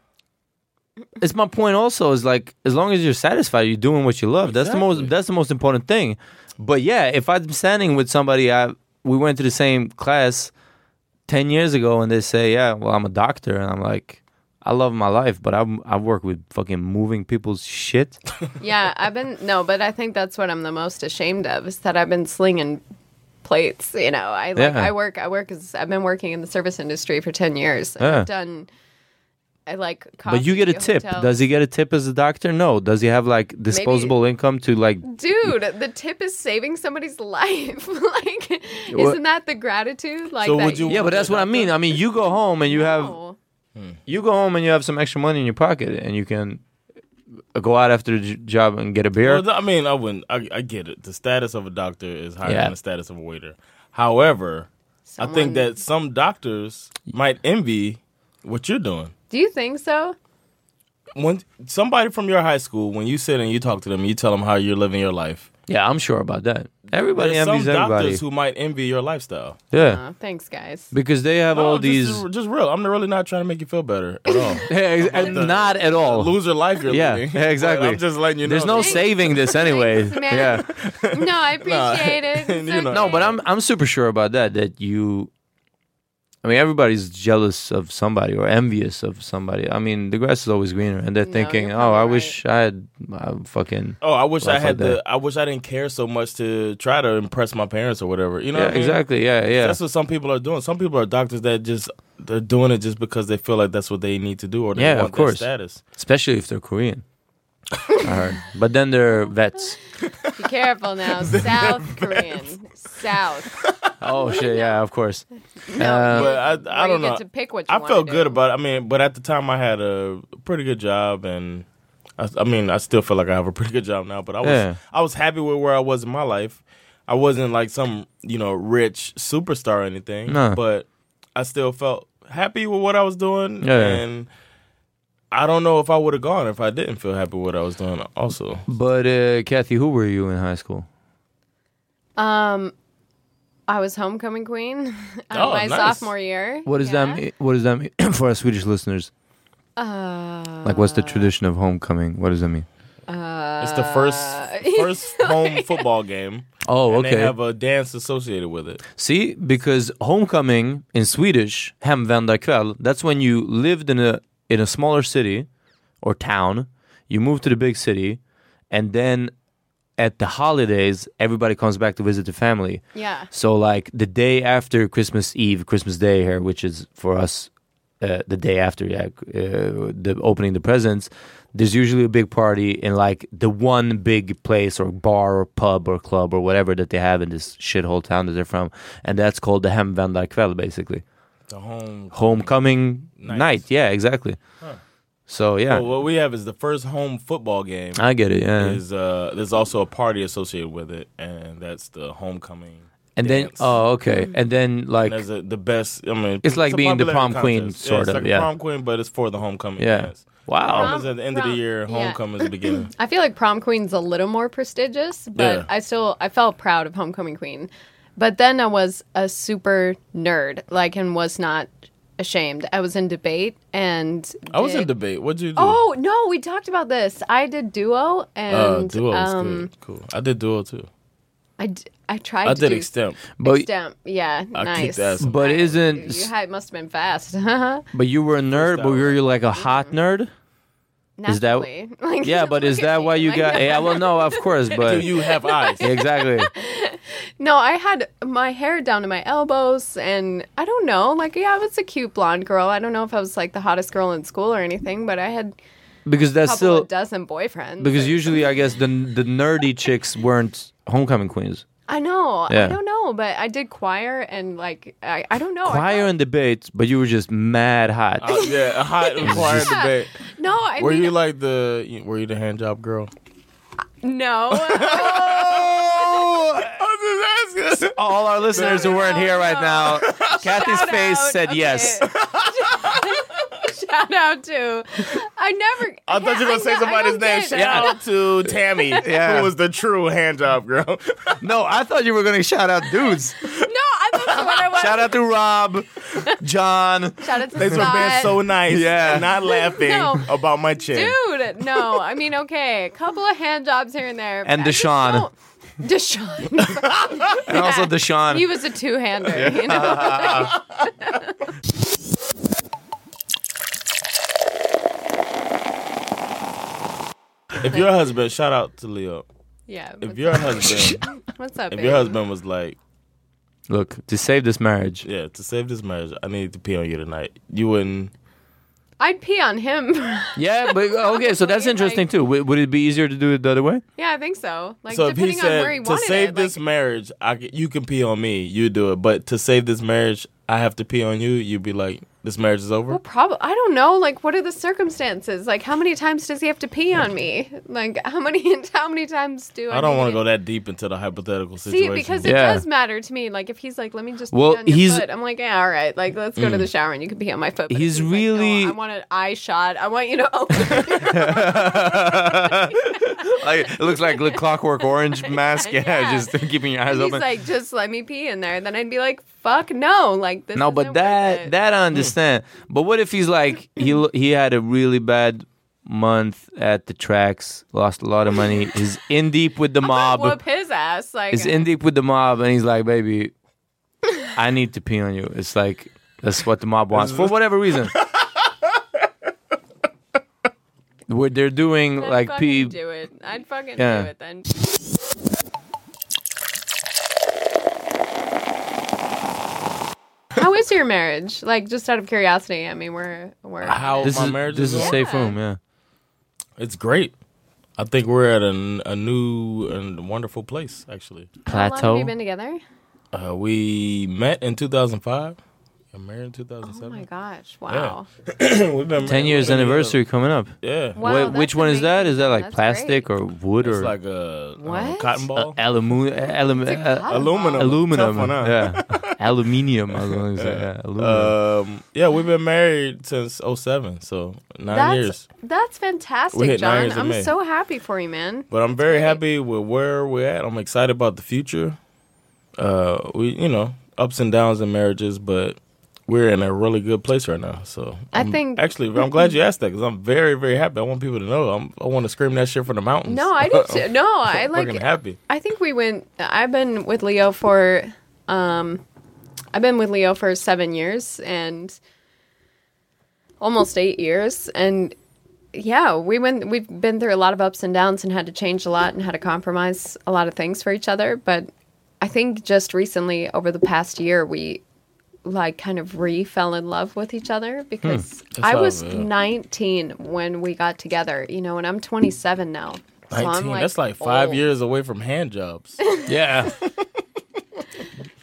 It's my point. Also, is like as long as you're satisfied, you're doing what you love. That's the most. That's the most important thing. But yeah, if I'm standing with somebody, I we went to the same class ten years ago, and they say, "Yeah, well, I'm a doctor," and I'm like, "I love my life, but I I work with fucking moving people's shit."
Yeah, I've been no, but I think that's what I'm the most ashamed of is that I've been slinging plates. You know, I like
Yeah.
I work I work as I've been working in the service industry for ten years. And
Yeah.
I've done I like
but you get a
coffee,
tip.
hotel-
Does he get a tip as a doctor? No. Does he have like disposable income to like?
Dude, the tip is saving somebody's (laughs) life. like,
What-
isn't that the gratitude? Like, that
Yeah, but that's what I mean. I mean, you go home and you have Hmm.
No.
You go home and you have some extra money in your pocket, and you can go out after the j- job and get a beer.
Well, th- I mean, I wouldn't. I, I get it. The status of a doctor is higher
Yeah.
than the status of a waiter. However, I
Someone-
think that some doctors might envy what you're doing.
Do you think so?
When somebody from your high school, when you sit and you talk to them, you tell them how you're living your life.
Yeah, I'm sure about that. Everybody
There's
envies
some
everybody.
doctors who might envy your lifestyle.
yeah,
Oh, thanks, guys.
because they have all these.
This is just real. I'm really not trying to make you feel better at all.
(laughs) Yeah, ex- and not at all.
Loser life you're
yeah,
living.
(laughs) yeah, exactly.
Like, I'm just letting you know.
There's no
that.
saving this anyway.
man.
yeah.
(laughs) No,
(laughs)
I appreciate
(laughs)
it. It's
You know.
No, but I'm I'm super sure about that. That you, I mean, everybody's jealous of somebody or envious of somebody. I mean, the grass is always greener, and they're thinking, "Oh, I wish I had uh, fucking."
Oh, I wish I
life like
had
that."
the. I wish I didn't care so much to try to impress my parents or whatever. You know,
yeah,
what I mean?
exactly. Yeah, yeah.
That's what some people are doing. Some people are doctors that just they're doing it just because they feel like that's what they need to do or they
Yeah,
want
of course.
that status.
Especially if
(laughs)
they're Korean. I heard. But then they're vets.
Be careful now. South Korean. South.
Oh shit! Yeah,
(laughs)
of course. Uh,
But I, I
Where
don't
you
know.
get to pick what you
I
wanna
felt
do.
good about. it. I mean, but at the time I had a pretty good job, and I, I mean, I still feel like I have a (laughs) pretty good job now. But I was
Yeah.
I was happy with where I was in my life. I wasn't like some you know rich superstar or anything,
No.
but I still felt happy with what I was doing.
Yeah.
and I don't know if I would have gone if I didn't feel happy with what I was doing. Also,
But uh, Kathy, who were you in high school?
Um, I was homecoming queen (laughs) uh,
Oh,
my
nice.
sophomore year.
What does that mean? What does that mean (coughs) for our Swedish listeners?
Uh,
Like, what's the tradition of homecoming? What does that mean?
uh,
it's the first
(laughs)
first home football game.
Oh,
and They
okay.
have a dance associated with it.
See, because homecoming in Swedish, hemvändarkväll, that's when you lived in a in a smaller city or town, you move to the big city, and then at the holidays, everybody comes back to visit the family.
Yeah.
So like the day after Christmas Eve, Christmas Day here, which is for us uh, the day after, yeah, uh, the opening the presents. There's usually a big party in like the one big place or bar or pub or club or whatever that they have in this shithole town that they're from, and that's called the Hemvändarkväll, basically
The home.
homecoming night. Yeah, exactly. So yeah,
Oh, Well, what we have is the first home football game.
I get it. Yeah.
Is uh, there's also a party associated with it, and that's the homecoming.
And then, oh,
Mm.
okay. And then, like,
That's a, the best. I mean,
It's like
a
being the
popularity
prom queen,
contest.
sort
yeah, it's
of,
Like a
yeah.
prom queen, but it's for the homecoming.
Yeah.
Yes.
Wow.
Prom is at Oh, the end of the year.
yeah.
Homecoming is the
(laughs)
beginning.
I feel like prom queen's a little more prestigious, but
Yeah.
I still I felt proud of homecoming queen. But then I was a super nerd, like, and was not ashamed. I was in debate, and
I was in
did-
debate. What'd you do?
Oh no, we talked about this. I did duo, and
uh, duo was
um,
good. Cool. I did duo too.
I, d- I tried.
I
to
did
do
extemp.
extemp, yeah,
I
nice.
kicked ass.
but isn't
You had, must have been fast. (laughs) Not
But you were a nerd, but were you like a hot
Mm-hmm. (laughs)
nerd? Is that
really. (laughs) Like,
yeah? But is that why you (laughs) got?
(laughs)
Yeah, well, no, of course, but
you have eyes?
Exactly.
No, I had my hair down to my elbows, and I don't know. Like, yeah, I was a cute blonde girl. I don't know if I was like the hottest girl in school or anything, but I had
Because
a
that's
couple
still
of dozen boyfriends.
because usually I guess the the nerdy chicks weren't homecoming queens.
I know.
Yeah.
I don't know, but I did choir and like I, I don't know. I
Choir and debate, but you were just mad hot.
Uh, yeah, a
(laughs)
hot choir
Yeah.
debate.
felt- (laughs) no, I
were
mean, (laughs)
you like the? you- Were you the hand job girl?
(laughs)
no.
Oh, All our listeners who weren't here right
(laughs)
now, Kathy's face said yes.
(laughs) Shout out to. I never.
I thought you were gonna say somebody's name. Shout out to Tammy,
(laughs) Yeah.
who was the true hand job girl. (laughs)
No, I thought you were gonna shout out dudes.
(laughs) No, I thought that's what I was.
Shout out to Rob, John.
Shout out to
Thanks for being
Scott.
so nice.
Yeah.
(laughs)
and not laughing
No.
about my chin.
Dude, no. I mean, okay, a couple of hand jobs here and there.
And
but I just
Deshaun.
don't- Deshaun.
And also Deshaun.
he was a two-hander, you know.
Ah. If your husband, shout out to Leo.
Yeah.
If your husband,
(laughs) What's up?
if
babe?
your husband was like,
Look, to save this marriage,
yeah, to save this marriage, I need to pee on you tonight. You wouldn't.
I'd pee on him. (laughs)
Yeah, but okay, so that's
Like-
interesting too. Would, would it be easier to do it the other way?
yeah, I think so. Like
so if he
depending on where he
said to
wanted
save
it.
this
like,
marriage, I c you can pee on me. You do it, but to save this marriage, I have to pee on you. You'd be like, this marriage is over.
well, probably. I don't know. Like, what are the circumstances? Like, how many times does he have to pee on me? Like, how many? (laughs) How many times do I?
I don't
need
want to go that deep into the hypothetical
See,
situation.
because
Yeah.
it does matter to me. Like, if he's like, "Let me just
Well,
pee on your
he's-
foot," I'm like, "Yeah, all right. Like, let's go to the shower and you can pee on my foot." But if
He's
Uh, like, "No,
really-
I
(laughs)
want an eye shot. I want you to (laughs) open. (laughs)
Like, it looks like the Clockwork Orange mask. Yeah, just (laughs) keeping your eyes
he's
open.
like, "Just let me pee in there." Then I'd be like, "Fuck no!" Like this.
no,
isn't
but
worth
that
it.
that I understand. But what if he's like he lo- he had a really bad month at the tracks, lost a lot of money. He's in deep
(laughs)
with the
I'd whoop
mob.
his ass. Like uh,
He's in deep with the mob, and he's like, baby, I need to pee on you. It's like that's what the mob wants for
(laughs)
whatever reason. Where they're doing
I'd
like
fucking
pee
do it. I'd fucking
Yeah.
do it then. How is your marriage? Like, just out of curiosity. I mean, we're we're
how
This
my
is
marriage
this
is,
is
over?
safe room, yeah.
It's great. I think we're at an, a new and wonderful place, actually.
How long have
Plateau.
you been together?
Uh, we met in 2005. I'm married in
Oh my
2007.
gosh! Wow.
(clears throat) We've been
Ten
married- we've
years
been
anniversary coming up.
together- Yeah.
Wow,
Wait,
that's
which one is that?
amazing.
Is that like
That's
plastic
great.
or wood
It's
or
like a uh,
What?
cotton ball.
aluminum?
Aluminum.
uh, aluminum.
Tough one, huh? (laughs) Uh,
Yeah, aluminium. I was going to say yeah, uh,
Oh.
aluminum.
Um, yeah, we've been married since 07, so nine
That's
years.
that's fantastic,
We hit nine
John.
years in
I'm
May.
so happy for you, man.
But I'm very happy with where we're at. I'm excited about the future. Uh, we, you know, ups and downs in marriages, but we're in a really good place right now. So
I
I'm-
think-
actually, I'm glad you asked that because I'm very, very happy. I want people to know. I'm, I want to scream that shit from the mountains.
No, I do too.
(laughs)
No, I like.
fucking happy.
I think we went. I've been with Leo for, um, I've been with Leo for seven years and almost eight years, and yeah, we went. We've been through a lot of ups and downs and had to change a lot and had to compromise a lot of things for each other. But I think just recently, over the past year, we like kind of re fell in love with each other because I
how,
was
Hmm. yeah.
19 when we got together, you know, and I'm 27 now. So I'm, oh.
19. That's like five
old.
years away from
(laughs)
hand jobs.
yeah,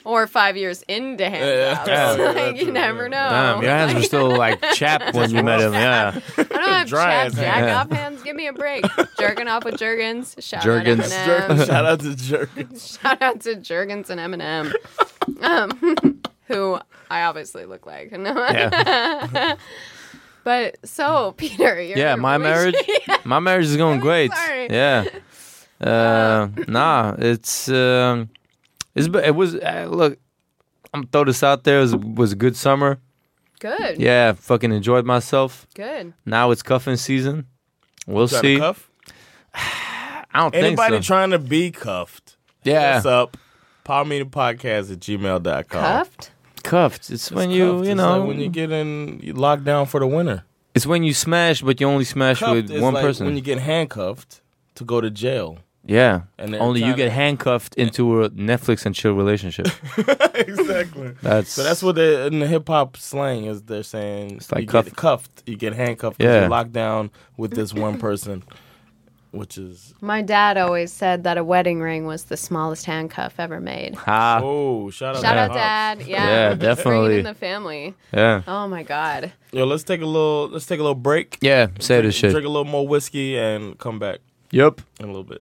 or five years into hand jobs. like, you never know. (laughs)
damn, your hands were still like chapped when you met him. Yeah,
I don't have
Dry
Chad
as
jack
hell.
off hands give me a
(laughs)
break. Jerking off with Jergens. Shout
Jergens.
out Eminem.
Jer- shout out to
Jergens.
(laughs) shout out to Jergens and Eminem, um, (laughs) who I obviously look like. (laughs) No.
Yeah.
(laughs) but so (laughs) Peter, you're
yeah, my
(laughs)
marriage, my marriage is going great.
sorry. (laughs)
Yeah, uh, nah, it's um, it's be- it was uh, look. I'm gonna throw this out there. It was, was a good summer.
Good.
Yeah, fucking enjoyed myself.
Good.
Now it's cuffing season. We'll
Trying to
see.
cuff?
I don't think
Anybody
so.
trying to be cuffed?
Yeah.
What's up? Podcast at gmail.com.
Cuffed?
Cuffed. It's, when you
cuffed.
you
It's
know
like when you get in you locked down for the winter.
It's when you smash, but you only smash
Cuffed
with
is
one
like
person.
When you get handcuffed to go to jail.
yeah,
And
and
they're
only you
trying
get
to-
handcuffed into a Netflix and chill relationship.
(laughs) exactly.
That's-
so that's what they, in the hip hop slang is. They're saying
like
you
cuffed.
get cuffed, you get handcuffed, 'cause
Yeah.
you're locked down with this one person, which is
My dad always said that a wedding ring was the smallest handcuff ever made.
ha.
Oh, shout out,
Shout
to
out,
Pops.
Dad. Yeah,
Yeah,
Bring it
definitely.
in the family.
Yeah.
Oh my God.
Yo, let's take a little. Let's take a little break.
Yeah, say this shit.
Drink a little more whiskey and come back
Yep.
in a little bit.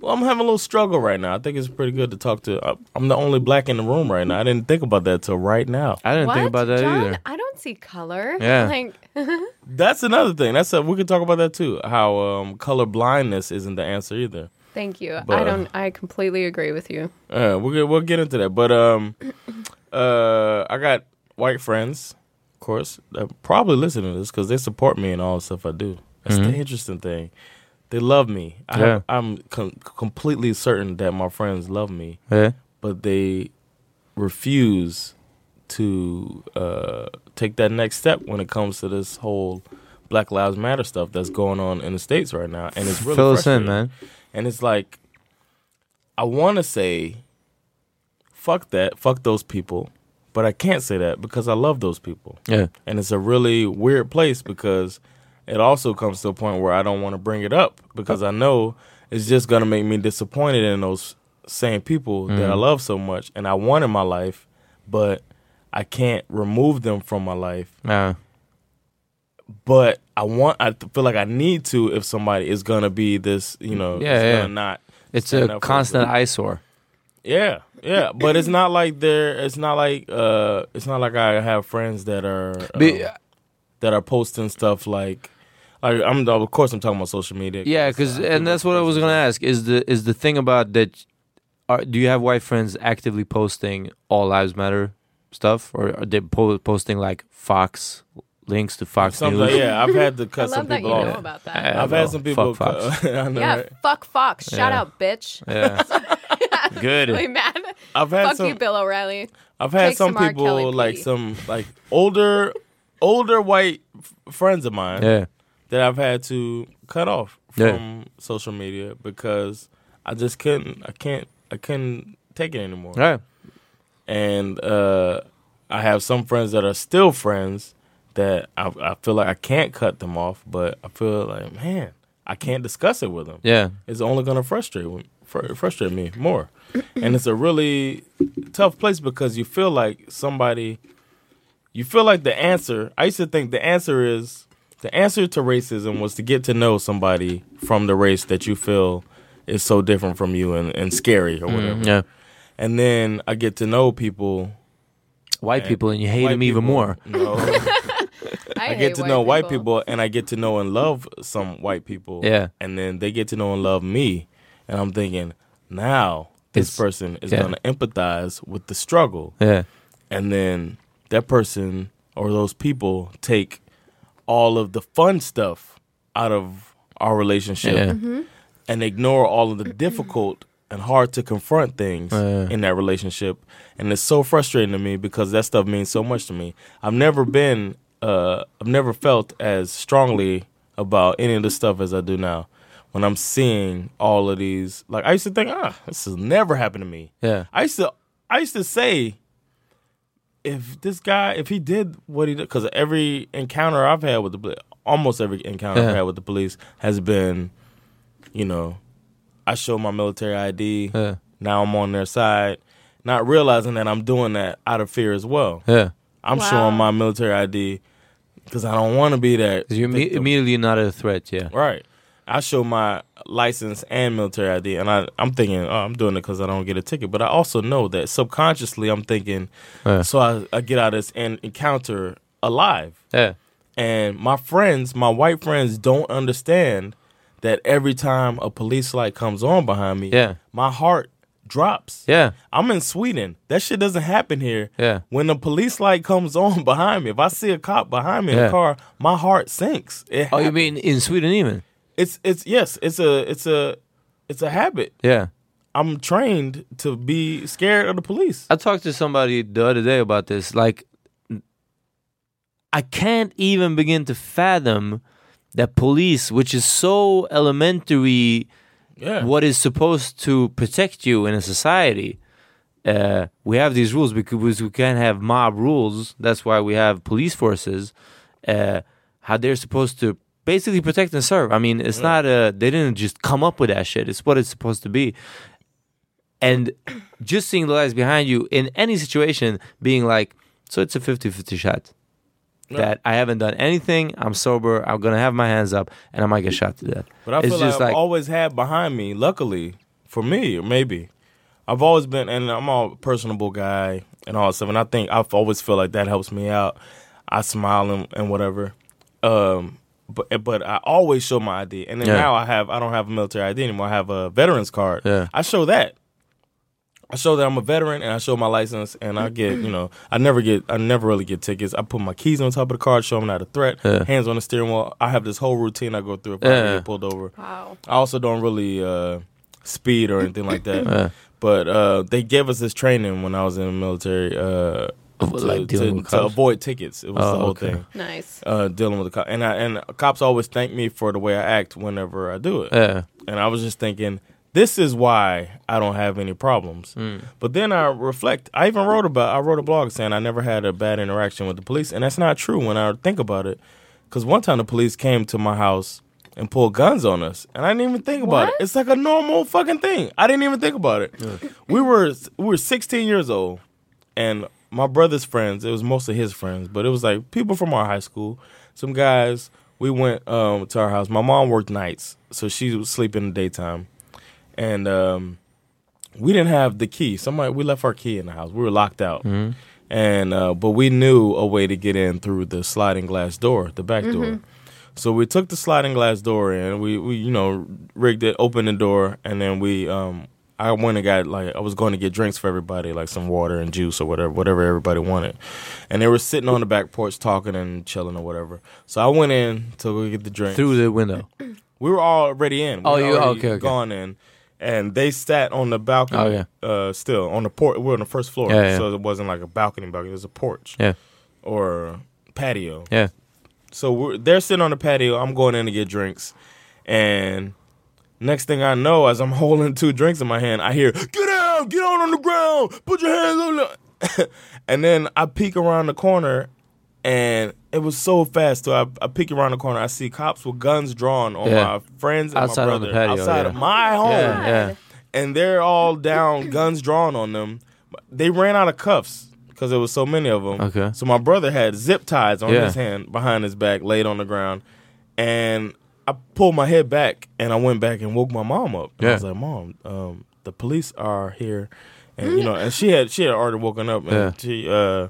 Well, I'm having a little struggle right now. I think it's pretty good to talk to. I- I'm the only black in the room right now. I didn't think about that till right now.
I didn't
what? John, I don't see color.
Yeah.
Like, (laughs)
That's another thing. That's a, we could talk about that too. How um, color blindness isn't the answer either.
thank you.
But-
I don't. I completely agree with you.
Uh, we'll get, we'll get into that. But um, uh, I got white friends, of course, that probably listen to this because they support me in all the stuff I do. That's
Mhm.
the interesting thing. They love me. I
Yeah.
I'm com- completely certain that my friends love me.
Yeah.
But they refuse to uh, take that next step when it comes to this whole Black Lives Matter stuff that's going on in the states right now, uh, and it's really
Fill us in,
frustrating.
man.
And it's like, I want to say, fuck that, fuck those people, but I can't say that because I love those people.
Yeah.
And it's a really weird place because it also comes to a point where I don't want to bring it up because
Oh.
I know it's just going to make me disappointed in those same people that I
Mm-hmm.
Mhm.
love so much and I want in my life, but I can't remove them from my life
Yeah.
but I want. I feel like I need to if somebody is gonna be this. You know,
Yeah,
is
yeah.
gonna not.
It's
stand
a
up for
constant
them.
eyesore.
Yeah, yeah, but it's not like there. It's not like uh, it's not like I have friends that are um,
Be-
that are posting stuff like, like I'm of course I'm talking about social media.
Yeah, because and that's what I was gonna ask. Is the is the thing about that? Are, do you have white friends actively posting all lives matter stuff, or are they po- posting like Fox links to Fox
Something
News?
like- yeah, I've had
(laughs)
to
I
cut
love
some
that
people
you
off.
know about that.
I've
Yeah,
had some
no,
people.
fuck
cut-
Fox.
I know,
yeah.
right?
Fuck Fox. Shout
Yeah.
out, bitch. (laughs)
(laughs)
Yeah. Good.
Really mad.
I've had
fuck
some-
you, Bill O'Reilly.
I've had
Take
some
R.
people
Kelly,
like
please.
some like older older white f- friends of mine
Yeah.
that I've had to cut off
Yeah.
from social media because I just couldn't. I can't. I couldn't take it anymore.
Yeah.
And uh, I have some friends that are still friends that I, I feel like I can't cut them off, but I feel like man, I can't discuss it with them.
(laughs) Yeah.
It's only gonna frustrate fr- frustrate me more, and it's a really tough place because you feel like somebody you feel like the answer i used to think the answer is the answer to racism was to get to know somebody from the race that you feel is so different from you and, and scary or
Mm,
whatever
yeah.
and then i get to know people
White people, and you hate
white mm-hmm.
them even more.
no
(laughs) I,
I,
hate
get to
white
know white
people.
people and I get to know and love some white people.
Yeah.
And then they get to know and love me. And I'm thinking, now this
It's-
person is
yeah.
going to empathize with the struggle.
Yeah.
And then that person or those people take all of the fun stuff out of our relationship
Yeah.
Mm-hmm.
Mm-hmm. and ignore all of the difficult and hard to confront things
Yeah.
in that relationship. And it's so frustrating to me because that stuff means so much to me. I've never been, uh, I've never felt as strongly about any of this stuff as I do now. When I'm seeing all of these, like I used to think, ah, this has never happened to me.
Yeah.
I used to, I used to say, if this guy, if he did what he did, because every encounter I've had with the, poli- almost every encounter
Yeah.
I've had with the police has been, you know, I show my military ID.
Yeah.
Now I'm on their side, not realizing that I'm doing that out of fear as well.
Yeah.
I'm
Wow.
showing my military ID because I don't want to be that.
'Cause you're imme-
victim.
immediately not a threat. Yeah.
Right. I show my license and military ID, and I, I'm thinking, oh, I'm doing it because I don't get a ticket. But I also know that subconsciously, I'm thinking,
Yeah.
so I, I get out of this and encounter alive.
Yeah.
And my friends, my white friends, don't understand that every time a police light comes on behind me,
Yeah.
my heart drops.
Yeah.
I'm in Sweden. That shit doesn't happen here.
Yeah.
When the police light comes (laughs) on behind me, if I see a cop behind me in
Yeah.
a car, my heart sinks. It
Oh, you
happens.
mean in Sweden even?
It's it's yes, it's a it's a it's a habit.
Yeah.
I'm trained to be scared of the police.
I talked to somebody the other day about this. Like, I can't even begin to fathom that police, which is so elementary,
Yeah.
what is supposed to protect you in a society. Uh, we have these rules because we can't have mob rules. That's why we have police forces. Uh, how they're supposed to basically protect and serve. I mean, it's not a they didn't just come up with that shit. It's what it's supposed to be. And just seeing the lights behind you in any situation, being like, so it's a 50-50 shot that I haven't done anything. I'm sober. I'm gonna have my hands up, and I might get shot to death.
But I
it's
feel like
just
I've always had behind me, luckily, for me, or maybe. I've always been and I'm a personable guy and all that stuff. And I think I've always feel like that helps me out. I smile and, and whatever. Um but but I always show my ID. And then
Yeah.
now I have I don't have a military ID anymore. I have a veterans card.
Yeah.
I show that. I show that I'm a veteran and I show my license and I get, you know, I never get, I never really get tickets. I put my keys on top of the car, show them not a threat,
Yeah.
hands on the steering wheel. I have this whole routine I go through if I
Yeah.
get pulled over.
Wow.
I also don't really uh, speed or anything like that.
Yeah.
But uh, they gave us this training when I was in the military uh, to,
like dealing
to,
with
to
cops?
avoid tickets. It was
Oh,
the whole
okay.
thing.
Nice.
Uh, dealing with the cops. And, I, and cops always thank me for the way I act whenever I do it.
Yeah.
And I was just thinking, this is why I don't have any problems. But then I reflect. I even wrote about. I wrote a blog saying I never had a bad interaction with the police, and that's not true when I think about it. Because one time the police came to my house and pulled guns on us, and I didn't even think about
What?
it. It's like a normal fucking thing. I didn't even think about it. We were we were 16 years old, and my brother's friends. It was mostly his friends, but it was like people from our high school. Some guys. We went um, to our house. My mom worked nights, so she was sleeping in the daytime, and. Um, we didn't have the key. Somebody we left our key in the house. We were locked out, and uh, but we knew a way to get in through the sliding glass door, the back door. So we took the sliding glass door in. We we you know rigged it, opened the door, and then we um I went and got like I was going to get drinks for everybody, like some water and juice or whatever whatever everybody wanted. And they were sitting on the back porch talking and chilling or whatever. So I went in to go get the drinks.
through the window.
(clears throat) We were already in. We
Oh,
were
you-
already
okay, okay.
gone in, and they sat on the balcony. uh, still on the porch. We are on the first floor,
Yeah, yeah.
so it wasn't like a balcony balcony. It was a porch
Yeah,
or patio.
yeah,
So we're, they're sitting on the patio. I'm going in to get drinks, And next thing I know, as I'm (laughs) holding two drinks in my hand, I hear, get out, get out on the ground, put your hands on the. and then I peek around the corner and it was so fast. So I, I peek around the corner, I see cops with guns drawn on
Yeah.
my friends and my
Outside on
brother
the patio,
outside
yeah.
of my home.
Yeah, yeah.
And they're
(laughs)
all down, guns drawn on them. They ran out of cuffs because there was so many of them.
Okay.
So my brother had zip ties on
Yeah.
his hand behind his back, laid on the ground, and I pulled my head back and I went back and woke my mom up. And I
Yeah.
was like, "Mom, um, the police are here," and you know, and she had she had already woken up and
Yeah.
she uh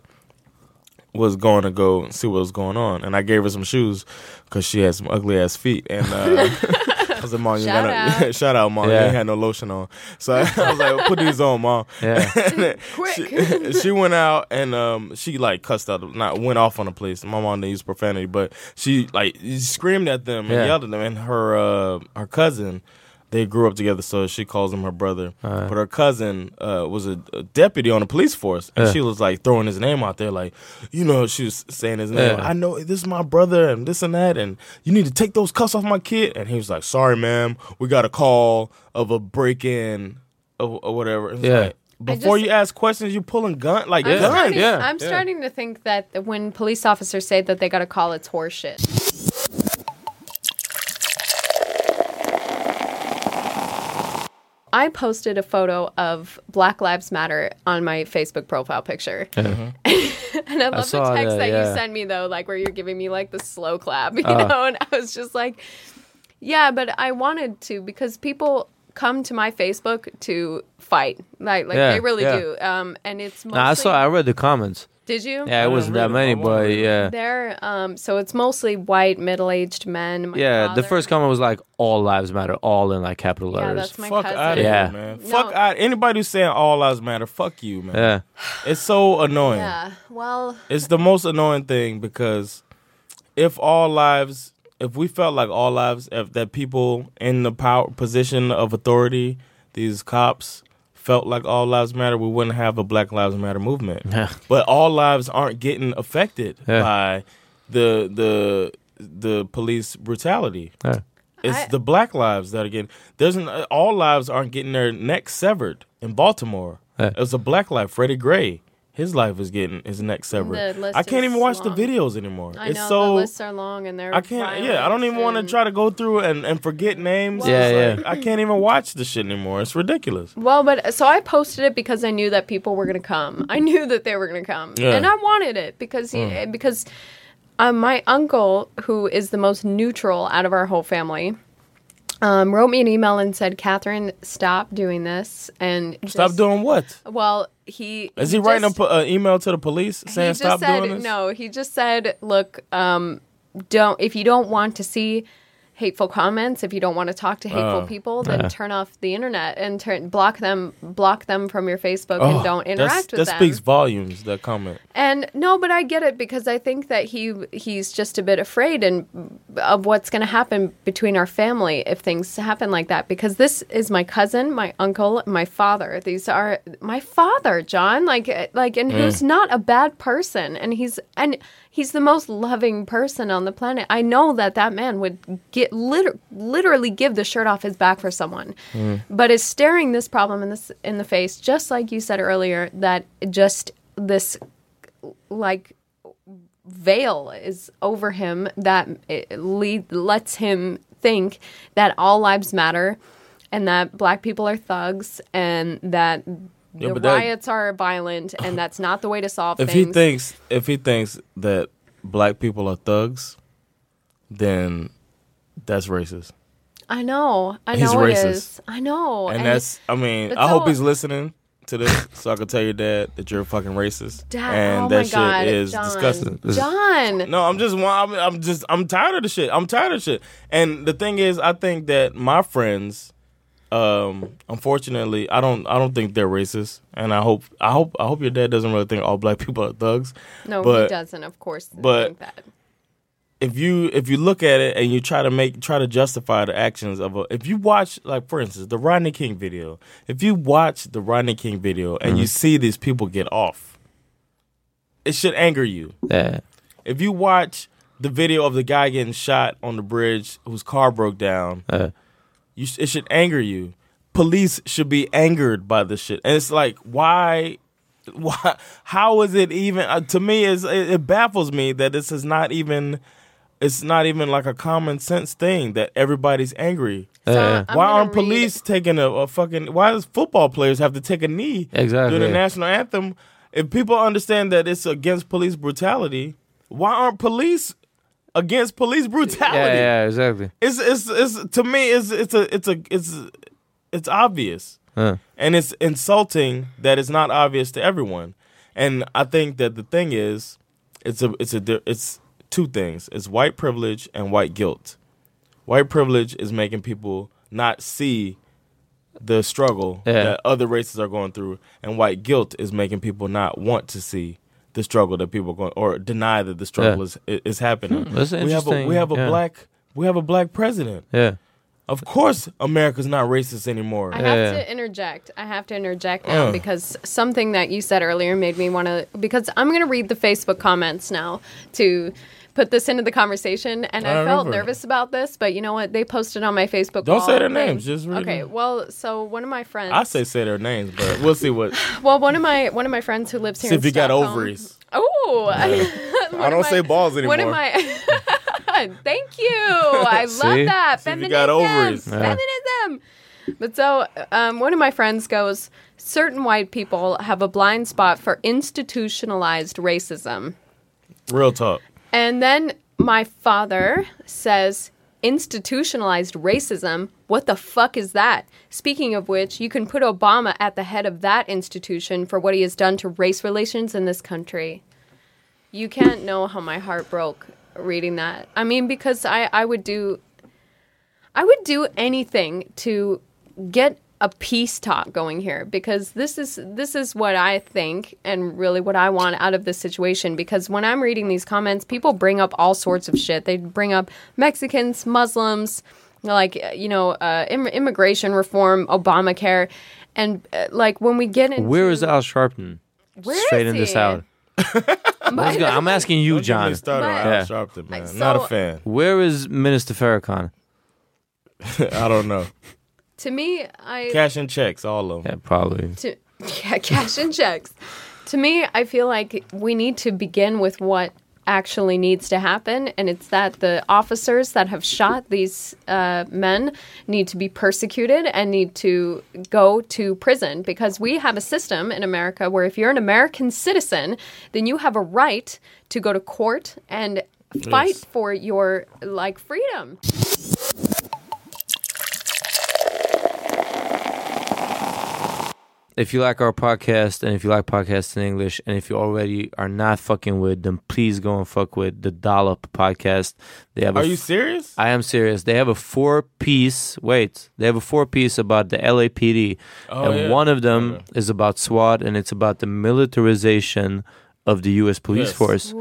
was going to go and see what was going on, and I gave her some shoes because she had some ugly ass feet, and uh, (laughs) I was like, "Mom, you
Shout
gotta
out.
(laughs) shout out, mom, you
Yeah.
ain't had no lotion on." So (laughs) I, was like, "Put these on, mom."
Yeah.
(laughs) And
Quick.
She, (laughs) she went out and um, she like cussed out, not went off on the police. My mom didn't use profanity, but she like screamed at them and
Yeah.
yelled at them. And her uh, her cousin, they grew up together, so she calls him her brother.
Alright.
But her cousin uh, was a, a deputy on the police force, and
Yeah.
she was like throwing his name out there, like you know, she was saying his name.
Yeah.
I know this is my brother, and this and that, and you need to take those cuffs off my kid. And he was like, "Sorry, ma'am, we got a call of a break in, or, or whatever." It was
Yeah.
like,
I
before
just-
you ask questions, you pulling gun like
I'm,
guns.
starting,
yeah,
I'm
yeah.
starting to think that when police officers say that they got a call, it's horseshit. I posted a photo of Black Lives Matter on my Facebook profile picture. (laughs) and I love
saw
the text
that,
that,
yeah. Uh.
you sent me, though, like where you're giving me like the slow clap, (laughs) you know? And I was just like, yeah, but I wanted to because people come to my Facebook to fight. Like, like
Yeah,
they really
yeah.
do. Um, and it's mostly.
Nah, I saw. I read the comments.
Did you?
Yeah, it wasn't that many, but yeah,
Um, They're um, so it's mostly white middle-aged men. My
yeah.
father-
The first comment was like, "All lives matter," all in like capital
Yeah,
letters.
that's my
Fuck
cousin.
out of
Yeah.
here, man.
No.
Fuck out. Anybody who's saying all lives matter, fuck you, man.
yeah,
It's so annoying.
Yeah. Well,
It's the most annoying thing because if all lives, if we felt like all lives, if that people in the power position of authority, these cops felt like all lives matter, we wouldn't have a Black Lives Matter movement.
(laughs) Yeah.
But all lives aren't getting affected
Yeah.
by the the the police brutality.
yeah.
It's
I-
the black lives that are getting. There's an, all lives aren't getting their necks severed in Baltimore.
Yeah.
It was a black life. Freddie Gray, his life is getting his neck severed.
The list
I can't
is
even watch
long.
the videos anymore.
I
it's
know
so
the lists are long and they're.
I can't. Yeah, I don't even want to
violent
try to go through and and forget names.
Yeah,
It's
yeah.
I can't even watch the shit anymore. It's ridiculous.
and- Well, but so I posted it because I knew that people were gonna come. I (laughs) knew that they were gonna come,
Yeah. Mm.
and I wanted it because he, because uh, my uncle, who is the most neutral out of our whole family, um, wrote me an email and said, "Catherine, stop doing this and
Stop
just-
doing what?
Well, he
Is he writing
just-
an uh, email to the police saying
he
stop
just said,
doing this?
No, he just said, look, um, don't if you don't want to see hateful comments, if you don't want to talk to hateful
Oh.
people, then turn off the internet and turn block them, block them from your Facebook,
Oh,
and don't
that's-
interact with
that
them.
speaks volumes. That comment.
And no, but I get it because I think that he he's just a bit afraid and of what's going to happen between our family if things happen like that. Because this is my cousin, my uncle, my father. These are my father, John. Like uh, like, and who's not a bad person, and he's and he's the most loving person on the planet. I know that that man would get liter- literally give the shirt off his back for someone,
Mm.
but is staring this problem in this in the face, just like you said earlier, that just this like veil is over him that it lead, lets him think that all lives matter and that black people are thugs and that
Yeah,
the
but that-
riots are violent
(laughs)
and that's not the way to solve
if
things.
he thinks if he thinks that black people are thugs, then that's racist.
I know. I
He's
know it
racist.
is. I know.
And,
it-
that's I mean,
Oh, it's
I hope
all-
he's listening to this so I can tell your dad that you're fucking racist.
Dad,
and
oh
that
my
shit
God,
is
John.
disgusting.
John.
No, I'm just I'm, I'm just I'm tired of the shit. I'm tired of shit. And the thing is, I think that my friends, um, unfortunately, I don't I don't think they're racist. And I hope I hope I hope your dad doesn't really think all black (laughs) people are thugs.
No, he
but-
doesn't, of course.
but-
think that.
if you if you look at it and you try to make try to justify the actions of a if you watch like for instance the Rodney King video if you watch the Rodney King video and you see these people get off it should anger you
yeah.
if you watch the video of the guy getting shot on the bridge whose car broke down,
Uh.
you sh- it should anger you. Police should be angered by this shit, and it's like why. (laughs) Why, how is it even uh, to me is it, it baffles me that this is not even it's not even like a common sense thing that everybody's angry
So, Yeah. I'm
why
gonna
aren't police taking a, a fucking why does football players have to take a knee
Exactly.
during the national anthem if people understand that it's against police brutality why aren't police against police brutality
yeah, yeah, exactly.
it's it's it's to me it's it's a it's a it's it's obvious
Yeah.
and it's insulting that it's not obvious to everyone and i think that the thing is it's a it's a di- it's two things it's white privilege and white guilt white privilege is making people not see the struggle
Yeah.
that other races are going through and white guilt is making people not want to see the struggle that people are going or deny that the struggle
Yeah.
is is is happening
Hmm, that's
we have a,
interesting,
we have a
yeah.
black we have a black president
Yeah.
of course america's not racist anymore
I have to interject. I have to interject now
Uh.
because something that you said earlier made me want to. Because I'm going to read the Facebook comments now to put this into the conversation, and I,
I
felt
remember.
nervous about this. But you know what? They posted on my Facebook.
Don't
wall
say their
thing.
names, just read
okay.
them.
Well, so one of my friends.
I say say their names, but we'll see
(laughs)
what
Well, one of my one of my friends who lives here.
see
in
if you got
Stockholm-
ovaries.
Oh, (laughs) One
(laughs) I
of
don't
my-
say balls
One of
anymore.
my. (laughs) Thank
(laughs)
you. I
See?
love that.
See if
Feminism.
you got ovaries. Yeah.
Feminism. But so, um, one of my friends goes, certain white people have a blind spot for institutionalized racism.
Real talk.
And then my father says, institutionalized racism? What the fuck is that? Speaking of which, you can put Obama at the head of that institution for what he has done to race relations in this country. You can't know how my heart broke reading that. I mean, because I, I would do. I would do anything to get a peace talk going here because this is this is what I think and really what I want out of this situation because when I'm reading these comments people bring up all sorts of shit they bring up Mexicans Muslims like you know uh, Im- immigration reform Obamacare and uh, like when we get into
Where is Al Sharpton?
Where is
Straightening this
he? (laughs)
out. Let's go. I'm asking you, John.
started on Al
Yeah.
Sharpton, man. Not a
so-
fan.
Where is Minister Farrakhan?
(laughs) I don't know.
to me I
Cash and checks, all of them.
Yeah, probably.
to (laughs) yeah, cash and checks. To me, I feel like we need to begin with what actually needs to happen, and it's that the officers that have shot these uh, men need to be persecuted and need to go to prison because we have a system in America where if you're an American citizen, then you have a right to go to court and fight
Yes.
for your like freedom.
If you like our podcast and if you like podcasts in English and if you already are not fucking with them, please go and fuck with the Dollop podcast. They have a
Are you
f-
serious?
I am serious. They have a four piece. Wait, they have a four piece about the LAPD,
Oh,
and
yeah.
one of them is about SWAT, and it's about the militarization of the U.S. police
Yes.
force.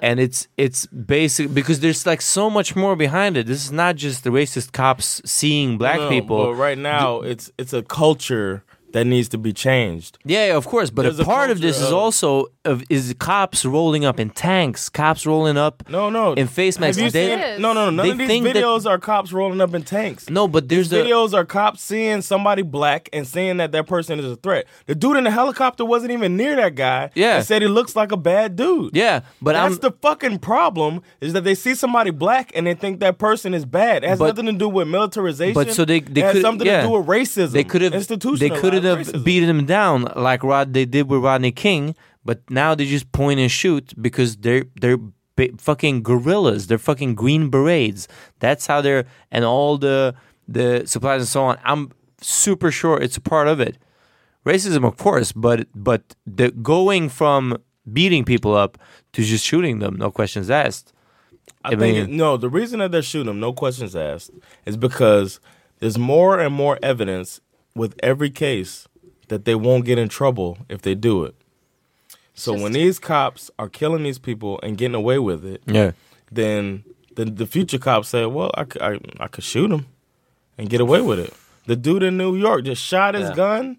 And it's it's basic because there's like so much more behind it. This is not just the racist cops seeing black
No,
people.
But right now, it's it's a culture that needs to be changed.
Yeah, yeah, of course. But
There's
a
a
part of this
culture
is
of-
also of is cops rolling up in tanks, cops rolling up
No, no.
in face masks.
Have you
They-
seen, no, no, no. None
they
of these
think that-
videos are cops rolling up in tanks.
no, but there's the
videos are cops seeing somebody black and seeing that that person is a threat. The dude in the helicopter wasn't even near that guy.
Yeah.
and said he looks like a bad dude.
yeah, but
That's
I'm
the fucking problem is that they see somebody black and they think that person is bad. It has
But-
nothing to do with militarization.
but so they they
it has
could
something
yeah.
to do with racism.
They could have they
institutionalized
could have
racism.
beaten him down like Rod they did with Rodney King, but now they just point and shoot because they're they're ba- fucking gorillas. They're fucking green berets. That's how they're and all the the supplies and so on. I'm super sure it's a part of it. Racism, of course, but but the going from beating people up to just shooting them, no questions asked.
I,
I
think
mean-
it- no. The reason that they're shooting him, no questions asked, is because there's more and more evidence with every case that they won't get in trouble if they do it. So when these cops are killing these people and getting away with it,
Yeah.
then the, the future cops say, "Well, I, c- I, I could shoot him and get away with it." The dude in New York just shot his gun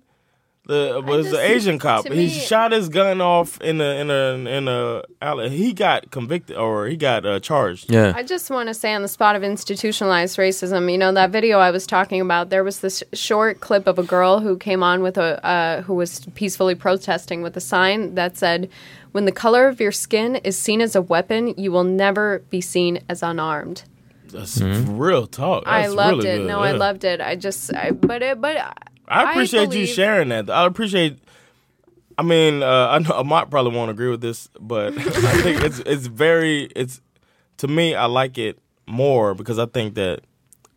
The was the Asian cop.
to
He
me-
shot his gun off in a in a in a alley. He got convicted or he got uh, charged.
I just want to say on the spot of institutionalized racism, you know, that video I was talking about, there was this short clip of a girl who came on with a, uh, who was peacefully protesting with a sign that said, when the color of your skin is seen as a weapon, you will never be seen as unarmed.
That's real talk.
I
That's
loved
really
it.
good,
No, I
yeah.
loved it. I just, I, but it, but I,
I appreciate you
believe-
sharing that. I appreciate. I mean, uh, I know Amat probably won't agree with this, but (laughs) I
(laughs)
think it's it's very it's to me I like it more because I think that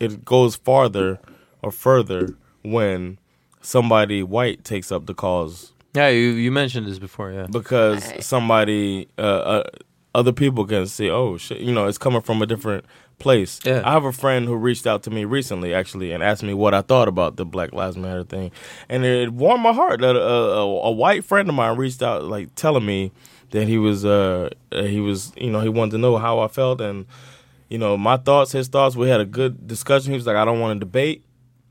it goes farther or further when somebody white takes up the cause
Yeah, you, you mentioned this before, yeah.
because somebody uh, uh, other people can see oh shit you know it's coming from a different place
Yeah.
i have a friend who reached out to me recently actually and asked me what i thought about the black lives matter thing and it warmed my heart that a, a, a white friend of mine reached out like telling me that he was uh uh, he was you know he wanted to know how i felt and you know my thoughts his thoughts we had a good discussion he was like i don't want to debate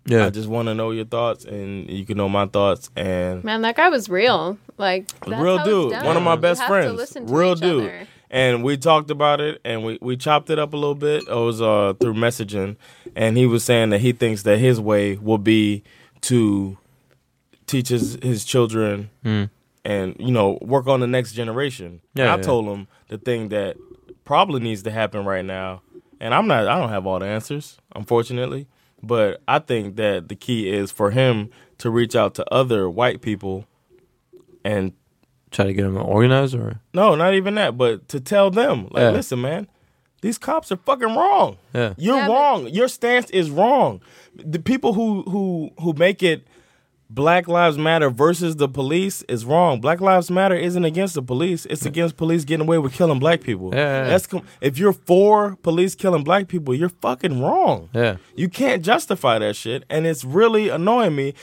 Yeah.
i just want to know your thoughts and you can know my thoughts and
Man, that guy was real. Like, that's
real
how it's
dude,
done.
one of my
You
best
have to
friends,
listen to
real
each
dude.
other.
And we talked about it, and we, we chopped it up a little bit. It was uh, through messaging, and he was saying that he thinks that his way will be to teach his, his children
Mm.
and you know work on the next generation.
Yeah,
I
yeah.
told him the thing that probably needs to happen right now, and I'm not I don't have all the answers, unfortunately, but I think that the key is for him to reach out to other white people and
Try to get him organized or
no, not even that, but to tell them, like,
Yeah.
listen, man, these cops are fucking wrong.
Yeah.
You're wrong. Your stance is wrong. The people who who who make it Black Lives Matter versus the police is wrong. Black Lives Matter isn't against the police. It's against police getting away with killing black people.
Yeah, yeah.
That's com- if you're for police killing black people, you're fucking wrong.
Yeah.
You can't justify that shit, and it's really annoying me.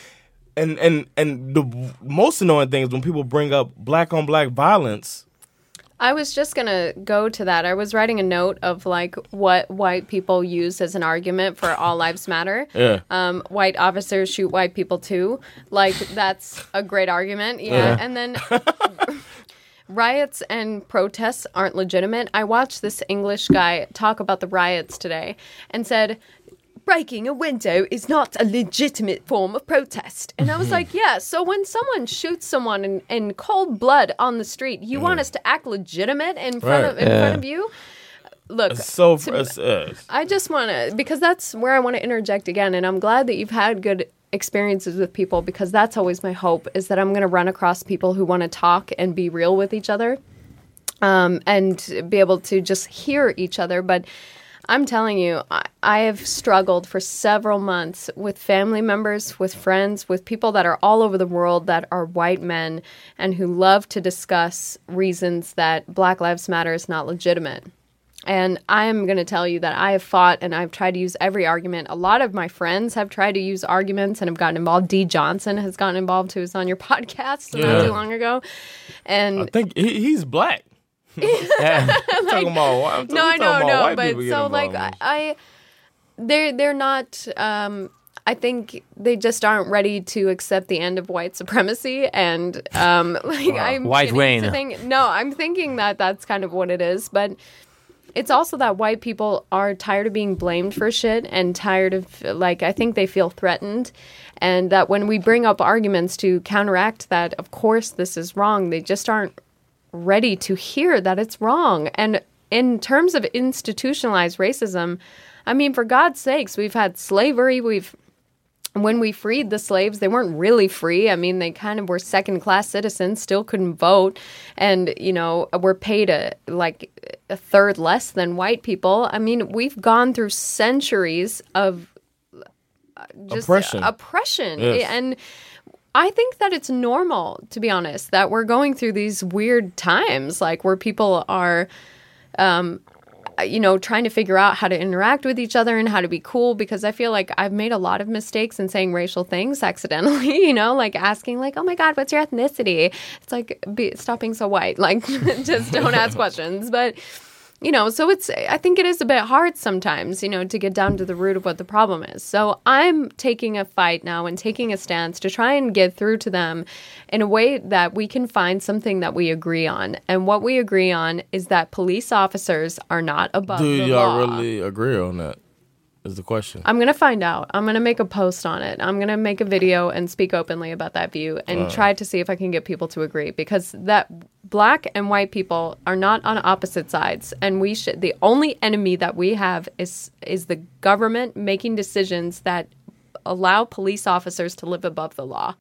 And and and the w- most annoying thing is when people bring up black on black violence.
I was just gonna go to that. I was writing a note of like what white people use as an argument for all lives matter.
Yeah.
Um, white officers shoot white people too. Like that's a great argument. Yeah.
Yeah.
And
(laughs)
then riots and protests aren't legitimate. I watched this English guy talk about the riots today and said breaking a window is not a legitimate form of protest. And I
Mm-hmm.
was like, yeah, so when someone shoots someone in, in cold blood on the street, you want us to act legitimate in front of
Mm. Right.
in
Yeah.
front of you? Look,
It's so
to-
it's, uh,
I just want to because that's where I want to interject again and I'm glad that you've had good experiences with people because that's always my hope is that I'm going to run across people who want to talk and be real with each other um, and be able to just hear each other. But I'm telling you, I, I have struggled for several months with family members, with friends, with people that are all over the world that are white men and who love to discuss reasons that Black Lives Matter is not legitimate. And I am going to tell you that I have fought and I've tried to use every argument. A lot of my friends have tried to use arguments and have gotten involved. D. Johnson has gotten involved, who was on your (laughs) podcast not
Yeah.
too long ago. And
I think he,
(laughs)
he's black. (laughs) I'm talking about whi- I'm
no, I
talking
know,
about
no,
white
but
people
so
getting
like I,
involved.
I, they're they're not. Um, I think they just aren't ready to accept the end of white supremacy, and um, (laughs) like I'm
White
beginning to
Wayne.
think- no, I'm thinking that that's kind of what it is, but. It's also that white people are tired of being blamed for shit and tired of, like, I think they feel threatened. And that when we bring up arguments to counteract that, of course, this is wrong, they just aren't ready to hear that it's wrong. And in terms of institutionalized racism, I mean, for God's sakes, we've had slavery, we've when we freed the slaves, they weren't really free. I mean, they kind of were second class citizens, still couldn't vote, and, you know, were paid a, like a third less than white people. I mean, we've gone through centuries of uh, just
Oppression.
oppression.
Yes.
And I think that it's normal, to be honest, that we're going through these weird times, like where people are um, you know, trying to figure out how to interact with each other and how to be cool because I feel like I've made a lot of mistakes in saying racial things (laughs) accidentally, you know, like asking like, "Oh my god, what's your (laughs) ethnicity?" It's like be, stop being so white. Like just don't ask questions. But you know, so it's, I think it is a bit hard sometimes, you know, to get down to the root of what the problem is. So I'm taking a fight now and taking a stance to try and get through to them in a way that we can find something that we agree on. And what we agree on is that police officers are not above
Do
the
y'all
law. Uh,
really agree on that? Is the question.
I'm gonna find out. I'm gonna make a post on it. I'm gonna make a video and speak openly about that view and
Uh.
try to see if I can get people to agree because that black and white people are not on opposite sides, and we should. The only enemy that we have is is the government making decisions that allow police officers to live above the law.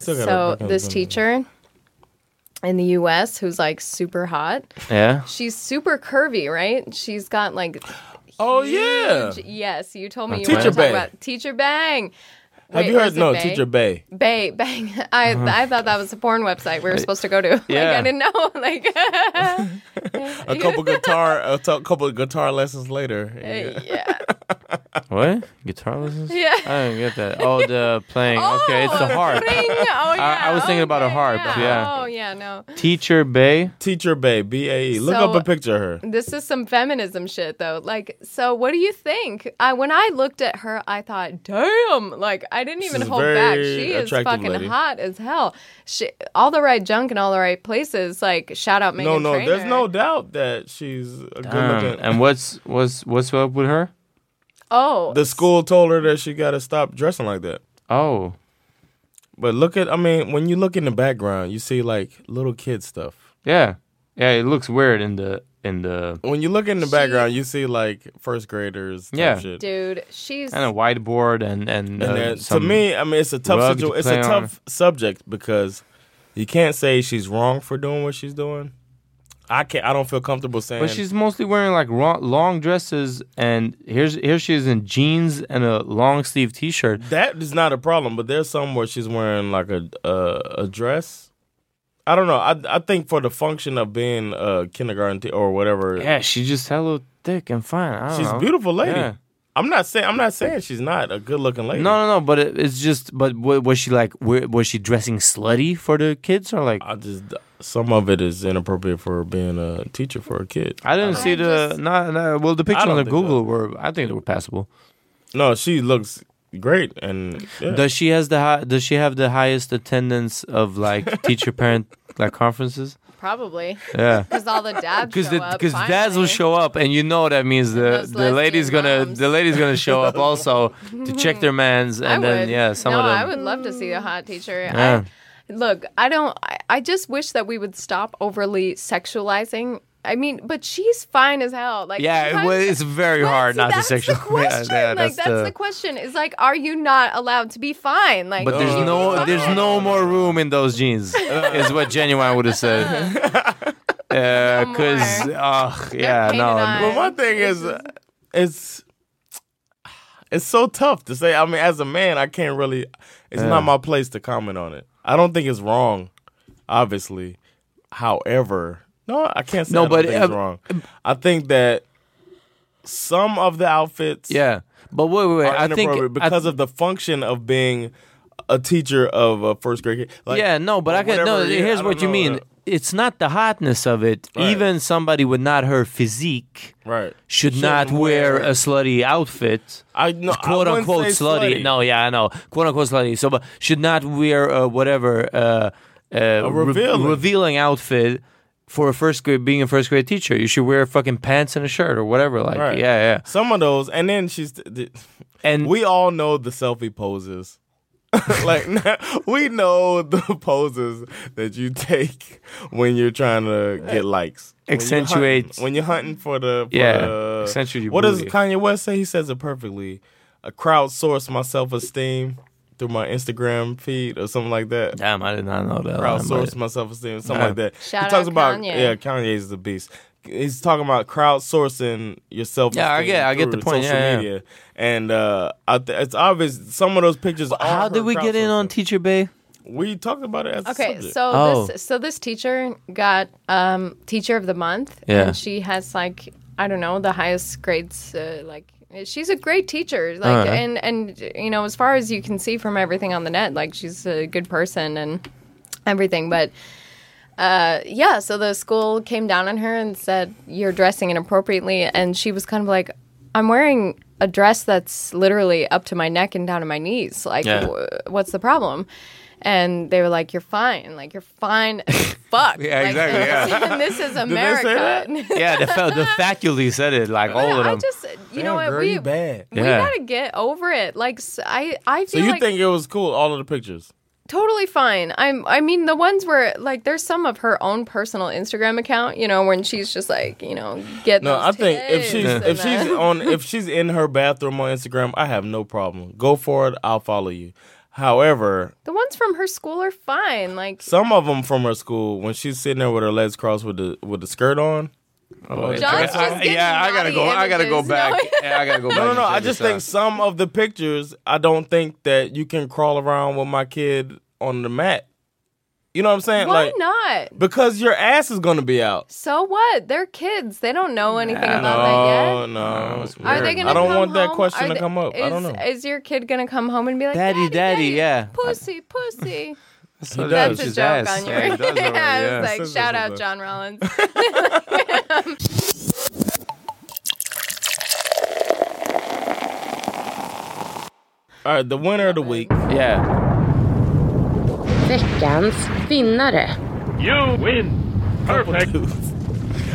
Still gotta
So
work on
this
something.
teacher in the U.S. who's like super hot. (laughs)
Yeah.
She's super curvy, right? She's got like.
Oh yeah.
huge- Yes, you told me
Uh,
you were
Teacher
talking
Bang.
about Teacher Bang.
Have
Wait,
you
or
heard?
is it
No,
Bay?
teacher Bay.
Bay Bang. (laughs) I
Uh-huh.
I thought that was a porn website we were supposed to (laughs) go to. like,
Yeah.
I didn't know. Like (laughs)
A couple guitar, a t- couple guitar lessons later. (laughs)
What? Guitar lessons?
Yeah.
I don't get that. Oh, the
(laughs)
playing. okay, it's a harp.
ring. Oh
(laughs) I-
yeah.
I, was thinking about a harp.
yeah.
Yeah.
Oh yeah. No.
Teacher Bay.
Teacher Bay. B A E.
Look So- up a
picture of her.
This is some feminism shit, though. Like, so what do you think? I when I looked at her, I thought, damn. Like, I didn't even
is a
hold back.
very
She is
attractive
fucking
lady.
hot as hell. She, all the right junk in all the right places. Like, shout out Megan
no, no.
Trainor.
There's no doubt that she's a good
Um,
looking.
and what's what's what's up with her?
Oh,
The school told her that she got to stop dressing like that.
Oh.
But look at, I mean, when you look in the background, you see like little kid stuff.
Yeah. Yeah, it looks weird in the in the
When you look in the background, you see like first graders. Type
Yeah.
Shit.
dude, she's
and a whiteboard and and, uh,
And then, to
some
me, I mean, it's a tough
rug to
situ- It's a
play on.
tough subject because you can't say she's wrong for doing what she's doing. I can't. I don't feel comfortable saying.
But she's mostly wearing like ro- long dresses, and here's here she is in jeans and a long sleeve T-shirt.
that is not a problem. But there's some where she's wearing like a a, a dress. I don't know. I I think for the function of being a kindergarten te- or whatever.
Yeah, she's just hella thick and fine. I don't
she's
know.
a beautiful lady.
Yeah.
I'm not saying. I'm not saying she's not a good looking lady.
No, no, no. But it, it's just. But wa- was she like? wa- Was she dressing slutty for the kids or like?
I just. Some of it is inappropriate for being a teacher for a kid.
I didn't see the not, not well the pictures on
don't
the
think
Google were I think they were passable.
No, she looks great and yeah.
Does she has the high, does she have the highest attendance
(laughs)
of like teacher parent like conferences?
probably. (laughs)
Yeah.
Because all the dads.
Because
show up,
because
finally.
dads will show up, and you know that means the the lady's gonna the lady's gonna
(laughs)
show up also to check their man's, and
I
then
would.
yeah, some
no,
of them.
I would love to see a hot teacher.
Yeah.
I, look, I don't. I, I just wish that we would stop overly sexualizing. I mean, but she's fine as hell. Like she
yeah, it,
has-
well, it's very hard not to
that's the
(laughs) sexual.
question. like that's, the, question. Is like, are you not allowed to be fine? Like,
But there's
can you
no
be fine?
there's no more room in those jeans, is what genuine would have
(laughs)
said. Because, ugh, yeah,
But
no.
my thing is, uh, it's it's so tough to say. I mean, as a man, I can't really. It's
Yeah.
not my place to comment on it. I don't think it's wrong, obviously. However, no, I can't say
No,
I don't
but,
think it's
uh,
wrong. I think that some of the outfits,
Yeah, but wait, wait, wait.
are
I think
inappropriate because of the function of being a teacher of a first grade kid. Like,
yeah, no, but I can. No,
whatever, yeah,
here's
I
what
don't
you
know,
mean.
uh,
It's not the hotness of it. Even somebody with not her physique
right
should
Shouldn't
not wear,
wear-
a slutty outfit.
I no, I
quote
wouldn't
unquote
say
slutty. No, yeah, I know. Quote unquote slutty. So, but should not wear uh, whatever uh, uh, re-
revealing.
revealing outfit for a first grade being a first grade teacher. You should wear fucking pants and a shirt or whatever. Like,
Right.
yeah, yeah.
Some of those, and then she's. th-
And
we all know the selfie poses. (laughs) like (laughs) we know the poses that you take when you're trying to get likes. When you're hunting-
Accentuate-
when you're hunting, for the for
Yeah,
the-
accentuate your
What
booty.
does Kanye West say? He says it perfectly. A crowdsource my self esteem through my Instagram feed or something like that.
Damn, I did not know that. line, but-
Crowdsource my self esteem, something
Yeah.
like that.
Shout
he talks
out
about
Kanye.
yeah, Kanye's the beast. He's talking about crowdsourcing yourself.
Yeah, I get- I get the point.
Social
Yeah, yeah.
media, and uh, I th- it's obvious some of those pictures. Are
How did
her
we get in on Teacher Bay?
crowdsourcing. We talked about it as a
Okay,
subject.
so
Oh.
this so this teacher got um, teacher of the month,
Yeah.
and she has like I don't know the highest grades. Uh, like she's a great teacher, like
Alright.
and and you know as far as you can see from everything on the net, like she's a good person, and everything. But uh, yeah, so the school came down on her and said, You're dressing inappropriately. And she was kind of like, I'm wearing a dress that's literally up to my neck and down to my knees. Like,
Yeah.
w- what's the problem? And they were like, You're fine. Like, you're fine
(laughs)
as fuck.
Yeah,
Like,
exactly,
and (laughs)
yeah.
and this is
they say
America.
yeah, the, fa- the faculty said
(laughs)
it, like all of
I
them.
just, you know what?
girl,
we
you bad.
we
Yeah.
gotta get over it. Like s- I, I
So
feel
you
like
think it was cool? All of the pictures.
totally fine. I'm. I mean, the ones where like there's some of her own personal Instagram account. You know, when she's just like, you know, get.
No, I
those
think if
titties
she's
and
(laughs)
if
that.
she's on if she's in her bathroom on Instagram, I have no problem. Go for it. I'll follow you. However,
the ones from her school are fine. Like
some of them from her school, when she's sitting there with her legs crossed with the with the skirt on. Oh,
yeah.
John's just getting
uh, yeah, I gotta
naughty
go. I gotta go
(laughs) images.
back.
No.
yeah, I gotta go back.
No, no,
and
no.
check
I
this
just think
out.
some of the pictures, I don't think that you can crawl around with my kid on the mat. You know what I'm saying?
why
like
not?
because your ass is gonna be out.
So what? They're kids. They don't know anything about that yet.
No, no.
Are they gonna
I don't
come
want that
home?
question
Are
to
they-
come up. I don't
is-
know.
Is your kid gonna come home and be like,
Daddy, daddy, yeah.
pussy, pussy?
(laughs)
So
He
that
That's
does.
was
a
his
joke
ass.
on your.
Yeah, he does
(laughs)
already,
yeah,
yeah.
it's like shout out John Rollins.
All right, the winner of the week.
Yeah.
Veckans vinnare.
You win.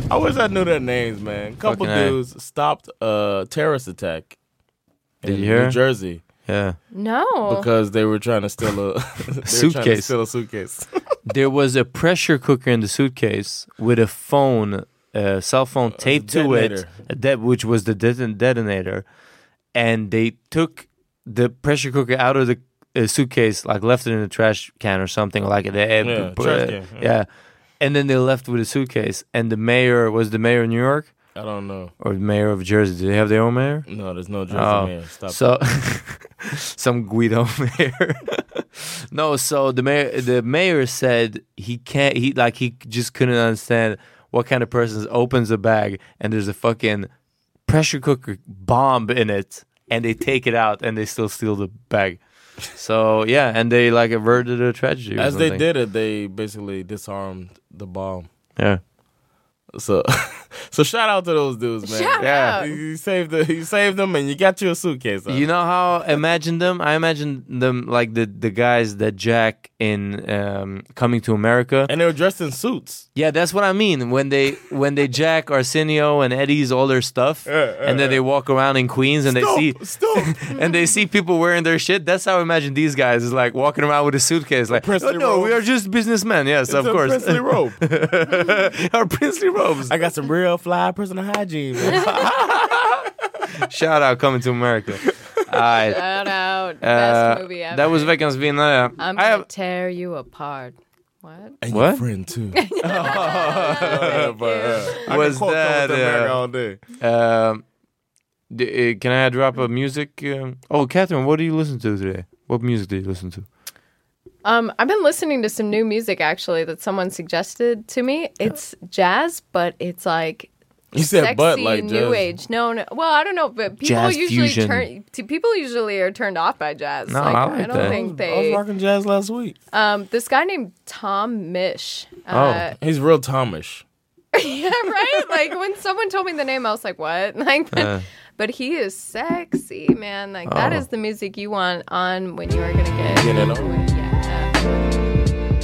I wish I knew their names, man. Couple
Fucking A.
dudes stopped a terrorist attack (laughs)
Did
in
you hear?
New Jersey
Yeah.
no,
because they were trying to steal a (laughs) they were trying to
Suitcase.
steal a suitcase.
There was a pressure cooker in the suitcase with a phone, a cell phone taped to it,
detonator.
that which was the deton- detonator, and they took the pressure cooker out of the uh, suitcase, like left it in a trash can or something like that.
Yeah, trash can, yeah.
yeah. And then they left with a suitcase. And the mayor was the mayor of New York
I don't know.
or the mayor of Jersey. Do they have their own mayor?
No, there's no Jersey
Oh,
man. Stop.
so (laughs) some Guido (laughs) mayor. no, so the mayor the mayor said he can't he like he just couldn't understand what kind of person opens a bag and there's a fucking pressure cooker bomb in it and they take it out and they still steal the bag. So yeah, and they like averted a tragedy. or
As they
something.
did it, they basically disarmed the bomb.
Yeah.
So, (laughs) so shout out to those dudes, man.
Shout
Yeah.
out.
You- You saved the, you saved them, and you got you a suitcase.
You know how I imagine them? I imagine them like the, the guys that Jack in um, Coming to America.
and they were dressed in suits.
Yeah, that's what I mean. When they when they jack Arsenio and Eddie's all their stuff, and then they walk around in Queens and they see
Stop.
(laughs) and they see people wearing their shit. That's how I imagine these guys is like walking around with a suitcase, like
princely
oh, no, we
robe.
are just businessmen. Yes,
It's
of
a
course,
princely robe.
our princely robes.
I got some real fly personal hygiene. Man.
(laughs)
(laughs)
Shout out coming to America. All right.
shout out.
Uh,
Best movie ever.
that was Vekans Vienna.
I'm
I
gonna
have
tear you apart. What?
And
What? uh,
your friend
(laughs)
(laughs)
too. (laughs)
was that. uh,
all day.
Um, d- uh, can I drop a music? Um, oh, Catherine, what do you listen to today? What music do you listen to?
Um, I've been listening to some new music actually that someone suggested to me. It's jazz, but it's like
You said
sexy
butt like
new
jazz.
age. No, no. Well, I don't know, but people
Jazz
usually
fusion.
turn. t- People usually are turned off by jazz.
No,
like,
I like
don't
that.
think
I was
they.
rocking jazz last week.
Um, this guy named Tom Mish.
Oh,
Uh,
He's real Thomish.
(laughs) yeah, right. Like when someone told me the name, I was like, "What?" (laughs) Like, but, but he is sexy, man. Like that
Oh.
is the music you want on when you are gonna get.
Get it on.
into it. Yeah.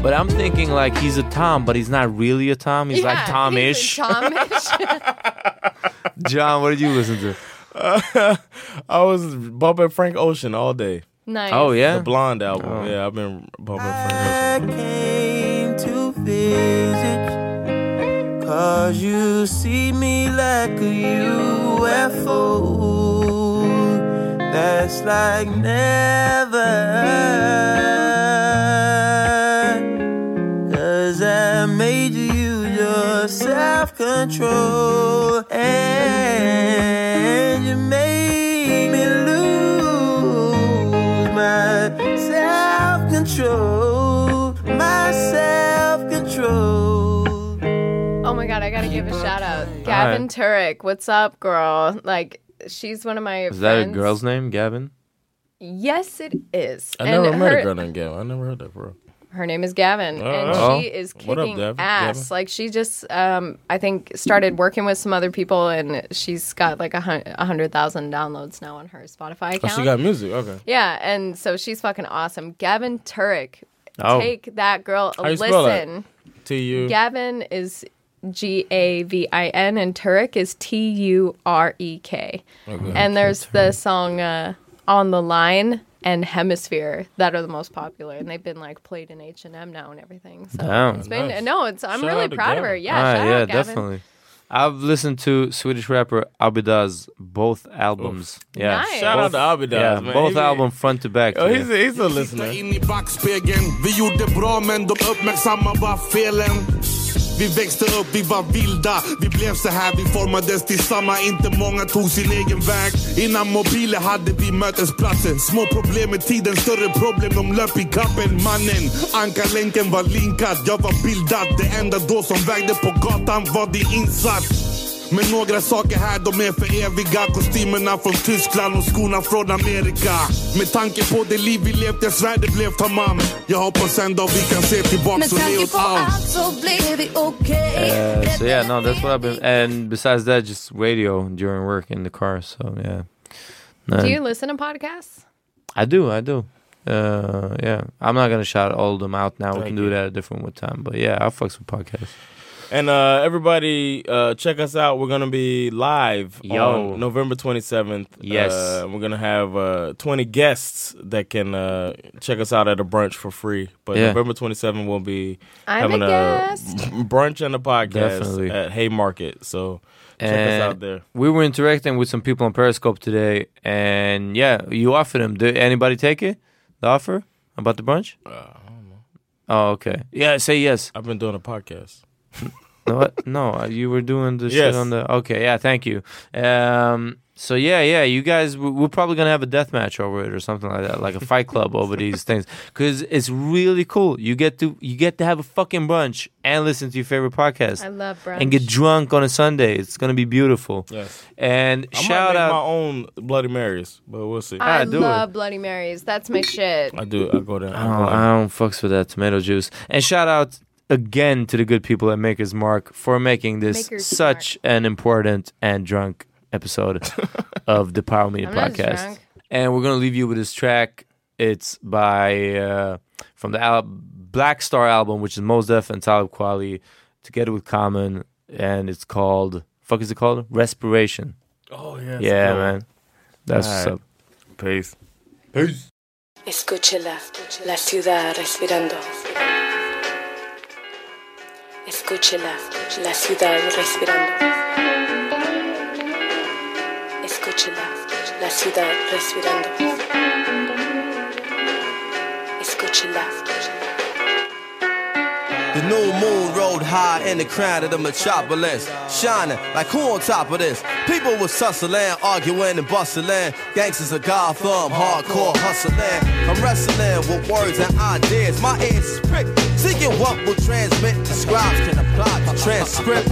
But I'm thinking like he's a Tom, but he's not really a Tom. He's like
Yeah,
Tom-ish.
he's a Tom-ish.
(laughs)
(laughs)
John, (laughs) what did you listen to?
(laughs) I was bumping Frank Ocean all day.
nice. Uh,
Oh yeah, Oh.
The Blonde album. Yeah, I've been bumping Frank Ocean.
came to visit Cause you see me like a UFO That just like never. Cause I made you use your self control and you made me lose my self control, my self control.
Oh my god, I gotta give a shout out. Gavin Turek, what's up, girl? Like she's one of my
Is that a
friends.
girl's name, Gavin?
Yes, it is.
I never
And
met
her-
a girl named Gavin. I never heard that bro.
Her name is Gavin, and
Oh.
she is kicking
What up, Gavin?
ass.
Gavin?
Like she just, um, I think, started working with some other people, and she's got like a hun- a hundred thousand downloads now on her Spotify
Oh,
account.
she got music. Okay.
Yeah, and so she's fucking awesome. Gavin Turek,
Oh.
take that girl a
How you
listen.
spell that? T U.
Gavin is G A V I N, and Turek is T U R E K.
Okay.
And there's the song uh, "On the Line" and "Hemisphere" that are the most popular, and they've been like played in H and M now and everything. So
Damn.
it's been
Nice.
no, it's I'm
Shout
really
out to
proud of
Gavin.
her. Yeah,
Ah,
shout
yeah,
out Gavin.
definitely. I've listened to Swedish rapper Abidaz both albums. Yeah,
Nice. Shout out
Both-
to Abidaz,
Yeah,
man.
both
He-
album front to back.
Oh,
yeah.
he's a, he's a listener.
in i backspegeln Vi gjorde bra men de uppmärksammade bara felen Vi växte upp, vi var vilda Vi blev så här, vi formades tillsammans Inte många tog sin egen väg Innan mobiler hade vi mötesplatser Små problem med tiden, större problem De löp i kappen mannen Ankarlänken var linkad, jag var bildad Det enda då som vägde på gatan var din insats men några saker här, de är för eviga Kostymerna från Tyskland och skorna från Amerika Med tanke på det liv vi levt, jag svär det blev tamam Jag hoppas en dag vi kan se
Med
tillbaks och le
tanke
åt
på
allt
allt så blir vi okej
Uh, so yeah, no, that's what I've been. And besides that, just radio during work in the car. So yeah, No,
Do you listen to podcasts?
I do, I do. Uh, yeah, I'm not gonna shout all of them out now. we can do that at a different one time. But yeah, I fucks with podcasts.
And uh, everybody, uh, check us out. We're gonna be live
Yo.
on November 27th.
Yes.
uh, we're gonna have uh, 20 guests that can uh, check us out at a brunch for free. But
Yeah.
November 27th, we'll be
I'm
having
a guest.
(laughs) brunch and a podcast
Definitely.
at Haymarket. So check
And
us out there.
We were interacting with some people on Periscope today, and yeah, you offered them. Did anybody take it? The offer about the brunch? Uh, I don't know. Oh, okay. Yeah, say yes.
I've been doing a podcast.
No, what? No, uh, you were doing the shit
Yes.
on the. Okay, yeah, thank you. Um, so yeah, yeah, you guys, we- we're probably gonna have a death match over it or something like that, like a fight club over these things, because it's really cool. You get to you get to have a fucking brunch and listen to your favorite podcast.
I love
and get drunk on a Sunday. It's gonna be beautiful.
Yes.
And
I might
shout
make
out
my own Bloody Marys, but we'll see.
I love Bloody Marys. That's my shit.
I do. I go down.
I don't, Oh, I don't fucks with that tomato juice. And shout out again to the good people at Maker's Mark for making this
Maker's
such an important and drunk
(laughs)
episode of the Power Media
I'm not
podcast.
drunk.
And we're gonna leave you with this track. It's by uh, from the al- Black Star album, which is Mos Def and Talib Kweli together with Common, and it's called fuck is it called? Respiration.
Oh yeah.
yeah, man. That's
All
what's
right.
up.
Peace. Peace.
Escúchela, la ciudad respirando. Escúchela, la ciudad respirando. Escúchela, la ciudad respirando. Escúchela.
The new moon rode high in the crown of the metropolis, shining like who on top of this? People was tussling, arguing and bustling. Gangsters of Gotham, hardcore hustling. I'm wrestling with words and ideas. My ears is pricked, seeking what will transmit. The scribes can apply the transcript.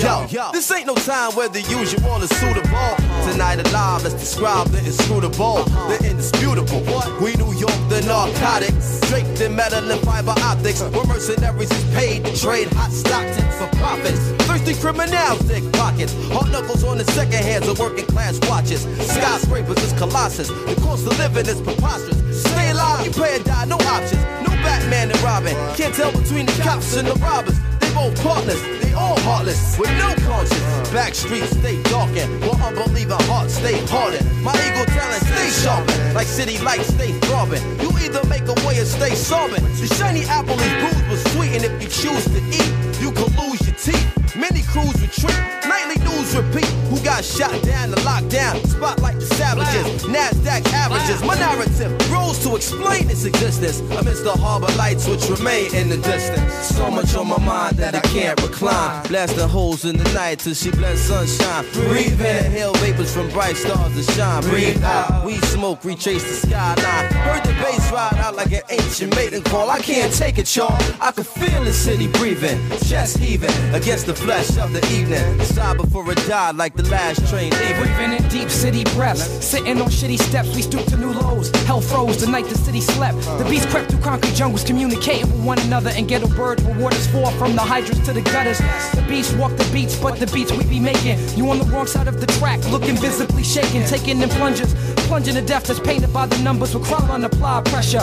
Yo, yo, this ain't no time where the usual is suitable. Tonight alive, let's describe the inscrutable, the indisputable. We New York, the narcotics, draped in metal and fiber optics. We're mercenaries is paid to trade hot stocks in for profits. Thirsty criminals, thick pockets. Hard knuckles on the second hands of working class watches. Skyscrapers is colossus. The cost of living is preposterous. Stay alive, you pay or die, no options. No Batman and Robin. Can't tell between the cops and the robbers. They both partners, they all heartless, with no conscience. Back streets stay darkened, while unbelieving hearts stay hardened. My ego talent stay sharpened, like city lights stay throbbing. You either make a way or stay sobbing. The shiny apple is bruised but sweet, and if you choose to eat, you could lose your teeth. Many crews retreat, nightly news repeat. Who got shot down and locked down? spot like the savages. NASDAQ averages. My narrative rules to explain its existence amidst the harbor lights which remain in the distance. So much on my mind that I can't recline. Blasting holes in the night till she blends sunshine. Breathe in, hail vapors from bright stars that shine. Breathe out, we smoke, retrace the skyline. Heard the bass ride out like an ancient maiden call. I can't take it, y'all. I can feel the city breathing, chest heaving against the flesh of the evening. Sigh before it died like the last train leaving.
Breathing in deep city breaths, sitting on shitty steps, we stoop to new lows. Hell froze the night the city slept. The beast crept through concrete jungles, communicating with one another, and ghetto birds where waters fall from the hydrants to the gutters. The beast walk the beats, but the beats we be making. You on the wrong side of the track, looking visibly shaken, taking in plungers, plunging to death that's painted by the numbers. We're crawling, apply pressure.